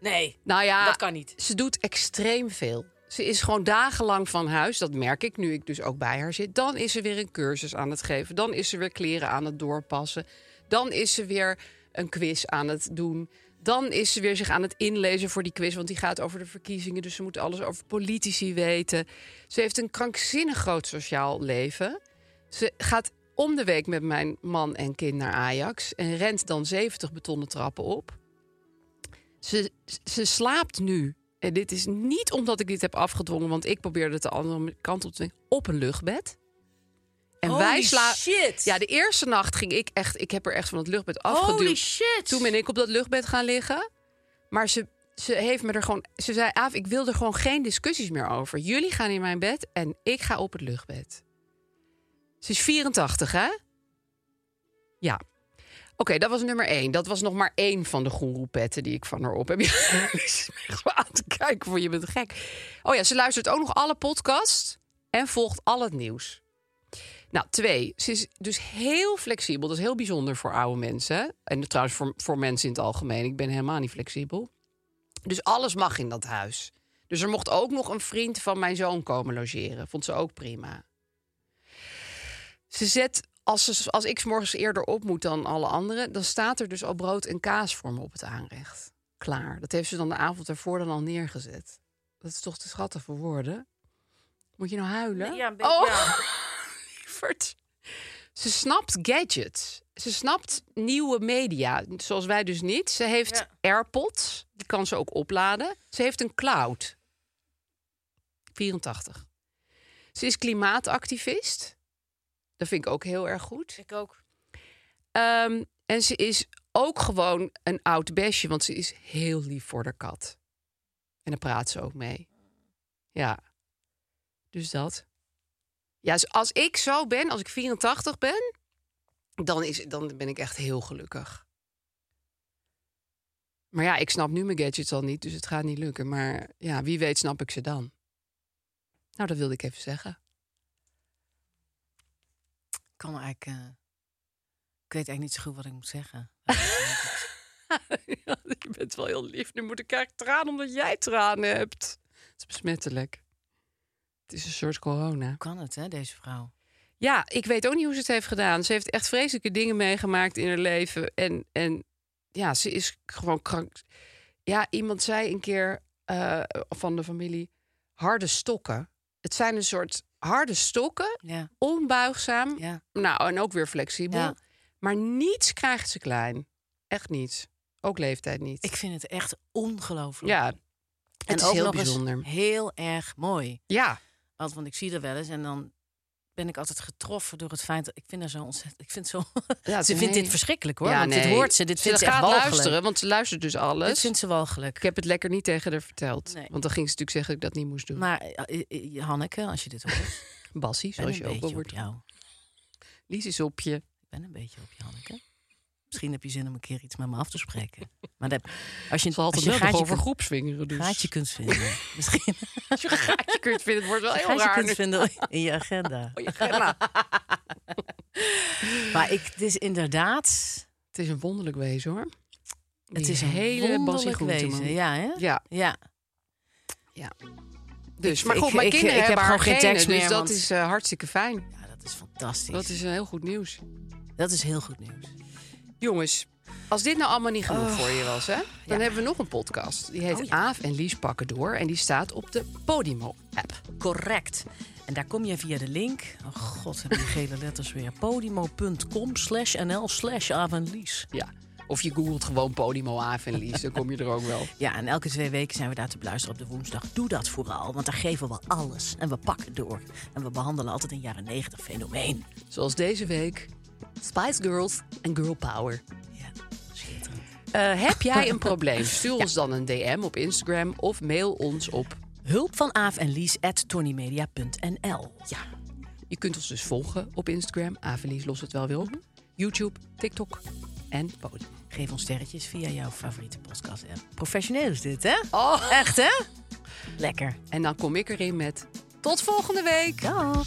S2: Nee,
S1: Nou ja,
S2: dat kan niet.
S1: ze doet extreem veel. Ze is gewoon dagenlang van huis, dat merk ik nu ik dus ook bij haar zit. Dan is ze weer een cursus aan het geven. Dan is ze weer kleren aan het doorpassen. Dan is ze weer een quiz aan het doen. Dan is ze weer zich aan het inlezen voor die quiz, want die gaat over de verkiezingen. Dus ze moet alles over politici weten. Ze heeft een krankzinnig groot sociaal leven. Ze gaat om de week met mijn man en kind naar Ajax en rent dan 70 betonnen trappen op. Ze, ze slaapt nu. En dit is niet omdat ik dit heb afgedwongen, want ik probeerde het de andere kant op te dwingen. Op een luchtbed. En
S2: Holy
S1: wij sla-
S2: shit.
S1: Ja, de eerste nacht ging ik echt. Ik heb er echt van het luchtbed afgeduwd.
S2: Holy shit.
S1: Toen ben ik op dat luchtbed gaan liggen. Maar ze, ze heeft me er gewoon. Ze zei: Aaf, ik wil er gewoon geen discussies meer over. Jullie gaan in mijn bed en ik ga op het luchtbed. Ze is 84, hè? Ja. Oké, dat was nummer één. Dat was nog maar één van de goeroepetten die ik van haar op heb. Je is me echt wel aan te kijken voor je bent gek. Oh ja, ze luistert ook nog alle podcasts en volgt al het nieuws. Nou, twee, ze is dus heel flexibel. Dat is heel bijzonder voor oude mensen. En trouwens voor, voor mensen in het algemeen. Ik ben helemaal niet flexibel. Dus alles mag in dat huis. Dus er mocht ook nog een vriend van mijn zoon komen logeren. Vond ze ook prima. Ze zet, als, ze, als ik 's morgens eerder op moet dan alle anderen... dan staat er dus al brood en kaas voor me op het aanrecht. Klaar. Dat heeft ze dan de avond ervoor dan al neergezet. Dat is toch te schattig voor woorden? Moet je nou huilen?
S2: Ja, een beetje,
S1: Oh.
S2: ja.
S1: Lievert. Ze snapt gadgets. Ze snapt nieuwe media, zoals wij dus niet. Ze heeft
S2: Ja.
S1: AirPods, die kan ze ook opladen. Ze heeft een cloud. 84. Ze is klimaatactivist. Dat vind ik ook heel erg goed.
S2: Ik ook.
S1: Ehm, en ze is ook gewoon een oud besje, want ze is heel lief voor de kat. En daar praat ze ook mee. Ja. Dus dat. Ja, dus als ik zo ben, als ik 84 ben, dan, is, dan ben ik echt heel gelukkig. Maar ja, ik snap nu mijn gadgets al niet, dus het gaat niet lukken. Maar ja, wie weet snap ik ze dan. Nou, dat wilde ik even zeggen.
S2: Ik kan eigenlijk... eh, ik weet eigenlijk niet zo goed wat ik moet zeggen.
S1: Ja, je bent wel heel lief. Nu moet ik eigenlijk tranen omdat jij tranen hebt. Het is besmettelijk. Het is een soort corona.
S2: Hoe kan het, hè, deze vrouw?
S1: Ja, ik weet ook niet hoe ze het heeft gedaan. Ze heeft echt vreselijke dingen meegemaakt in haar leven. En, en ja, ze is gewoon krank. Ja, iemand zei een keer eh, van de familie... harde stokken. Het zijn een soort harde stokken.
S2: Ja,
S1: Onbuigzaam.
S2: ja.
S1: Nou, en ook weer flexibel.
S2: Ja.
S1: Maar niets krijgt ze klein. Echt niets. Ook leeftijd niet.
S2: Ik vind het echt ongelooflijk.
S1: Ja,
S2: en
S1: het is
S2: ook
S1: heel
S2: nog eens
S1: bijzonder.
S2: heel erg mooi.
S1: ja.
S2: Want, want ik zie er wel eens en dan ben ik altijd getroffen door het feit dat ik vind haar zo ontzettend. Ik vind zo.
S1: ja
S2: ze vindt
S1: nee.
S2: dit verschrikkelijk hoor.
S1: Ja,
S2: want dit
S1: nee.
S2: hoort ze. Dit vindt ze echt
S1: gaat
S2: walgelijk.
S1: luisteren, want ze luistert dus
S2: Dit
S1: alles.
S2: vindt ze walgelijk.
S1: Ik heb het lekker niet tegen haar verteld.
S2: Nee.
S1: Want dan ging ze natuurlijk zeggen dat ik dat niet moest doen.
S2: Maar eh, eh, eh, Hanneke, als je dit hoort, ik
S1: Bassie,
S2: ben
S1: zoals
S2: een
S1: je ook wel
S2: beetje op
S1: wordt.
S2: jou.
S1: Lies is op je.
S2: Ik ben een beetje op je, Hanneke. Misschien heb je zin om een keer iets met me af te spreken. Maar dat, als je
S1: Ze had het
S2: als je
S1: wel nog
S2: een gaatje,
S1: over
S2: kunt,
S1: groepsvingeren. Dus.
S2: gaatje kunt vinden, misschien
S1: Als je een gaatje kunt vinden, het wordt wel
S2: een
S1: heel
S2: gaatje
S1: raar.
S2: kunt
S1: nu.
S2: vinden in je agenda.
S1: Oh, je grenna.
S2: Maar ik, het is inderdaad,
S1: Het is een wonderlijk wezen, hoor.
S2: het
S1: Die
S2: is een hele
S1: hele Bassie
S2: wonderlijk
S1: Groenteman.
S2: wezen. Ja, hè?
S1: Ja,
S2: ja.
S1: dus.
S2: Ik-
S1: Maar goed,
S2: ik-
S1: mijn
S2: ik-
S1: kinderen
S2: ik heb
S1: hebben haar
S2: gewoon geen
S1: genen,
S2: tekst meer,
S1: Dus dat
S2: want-
S1: is eh, hartstikke fijn.
S2: Ja, Nou, dat is fantastisch.
S1: Dat is eh, heel goed nieuws.
S2: Dat is heel goed nieuws.
S1: Jongens, als dit nou allemaal niet genoeg voor je was, hè? Dan hebben we nog een podcast. Die heet Aaf en Lies pakken door. En die staat op de Podimo-app.
S2: Correct. En daar kom je via de link. Oh god, heb die gele letters weer. Podimo.com slash nl slash avanlies.
S1: Ja. Of je googelt gewoon Podimo Aaf en Lies. dan kom je er ook wel.
S2: Ja, en elke twee weken zijn we daar te beluisteren op de woensdag. Doe dat vooral, want daar geven we alles. En we pakken door. En we behandelen altijd een jaren negentig fenomeen.
S1: Zoals deze week. Spice Girls en Girl Power.
S2: Ja, schitterend.
S1: Eh, heb jij een probleem? Stuur ons dan een DM op Instagram of mail ons op.
S2: Hulp van Aaf en Lies at tonymedia.nl.
S1: Ja. Je kunt ons dus volgen op Instagram. Aaf en Lies los het wel weer op. YouTube, TikTok en Podimo.
S2: Geef ons sterretjes via jouw favoriete podcast app. Professioneel is dit, hè?
S1: Oh.
S2: Echt, hè? Lekker.
S1: En dan kom ik erin met. Tot volgende week!
S2: Doeg.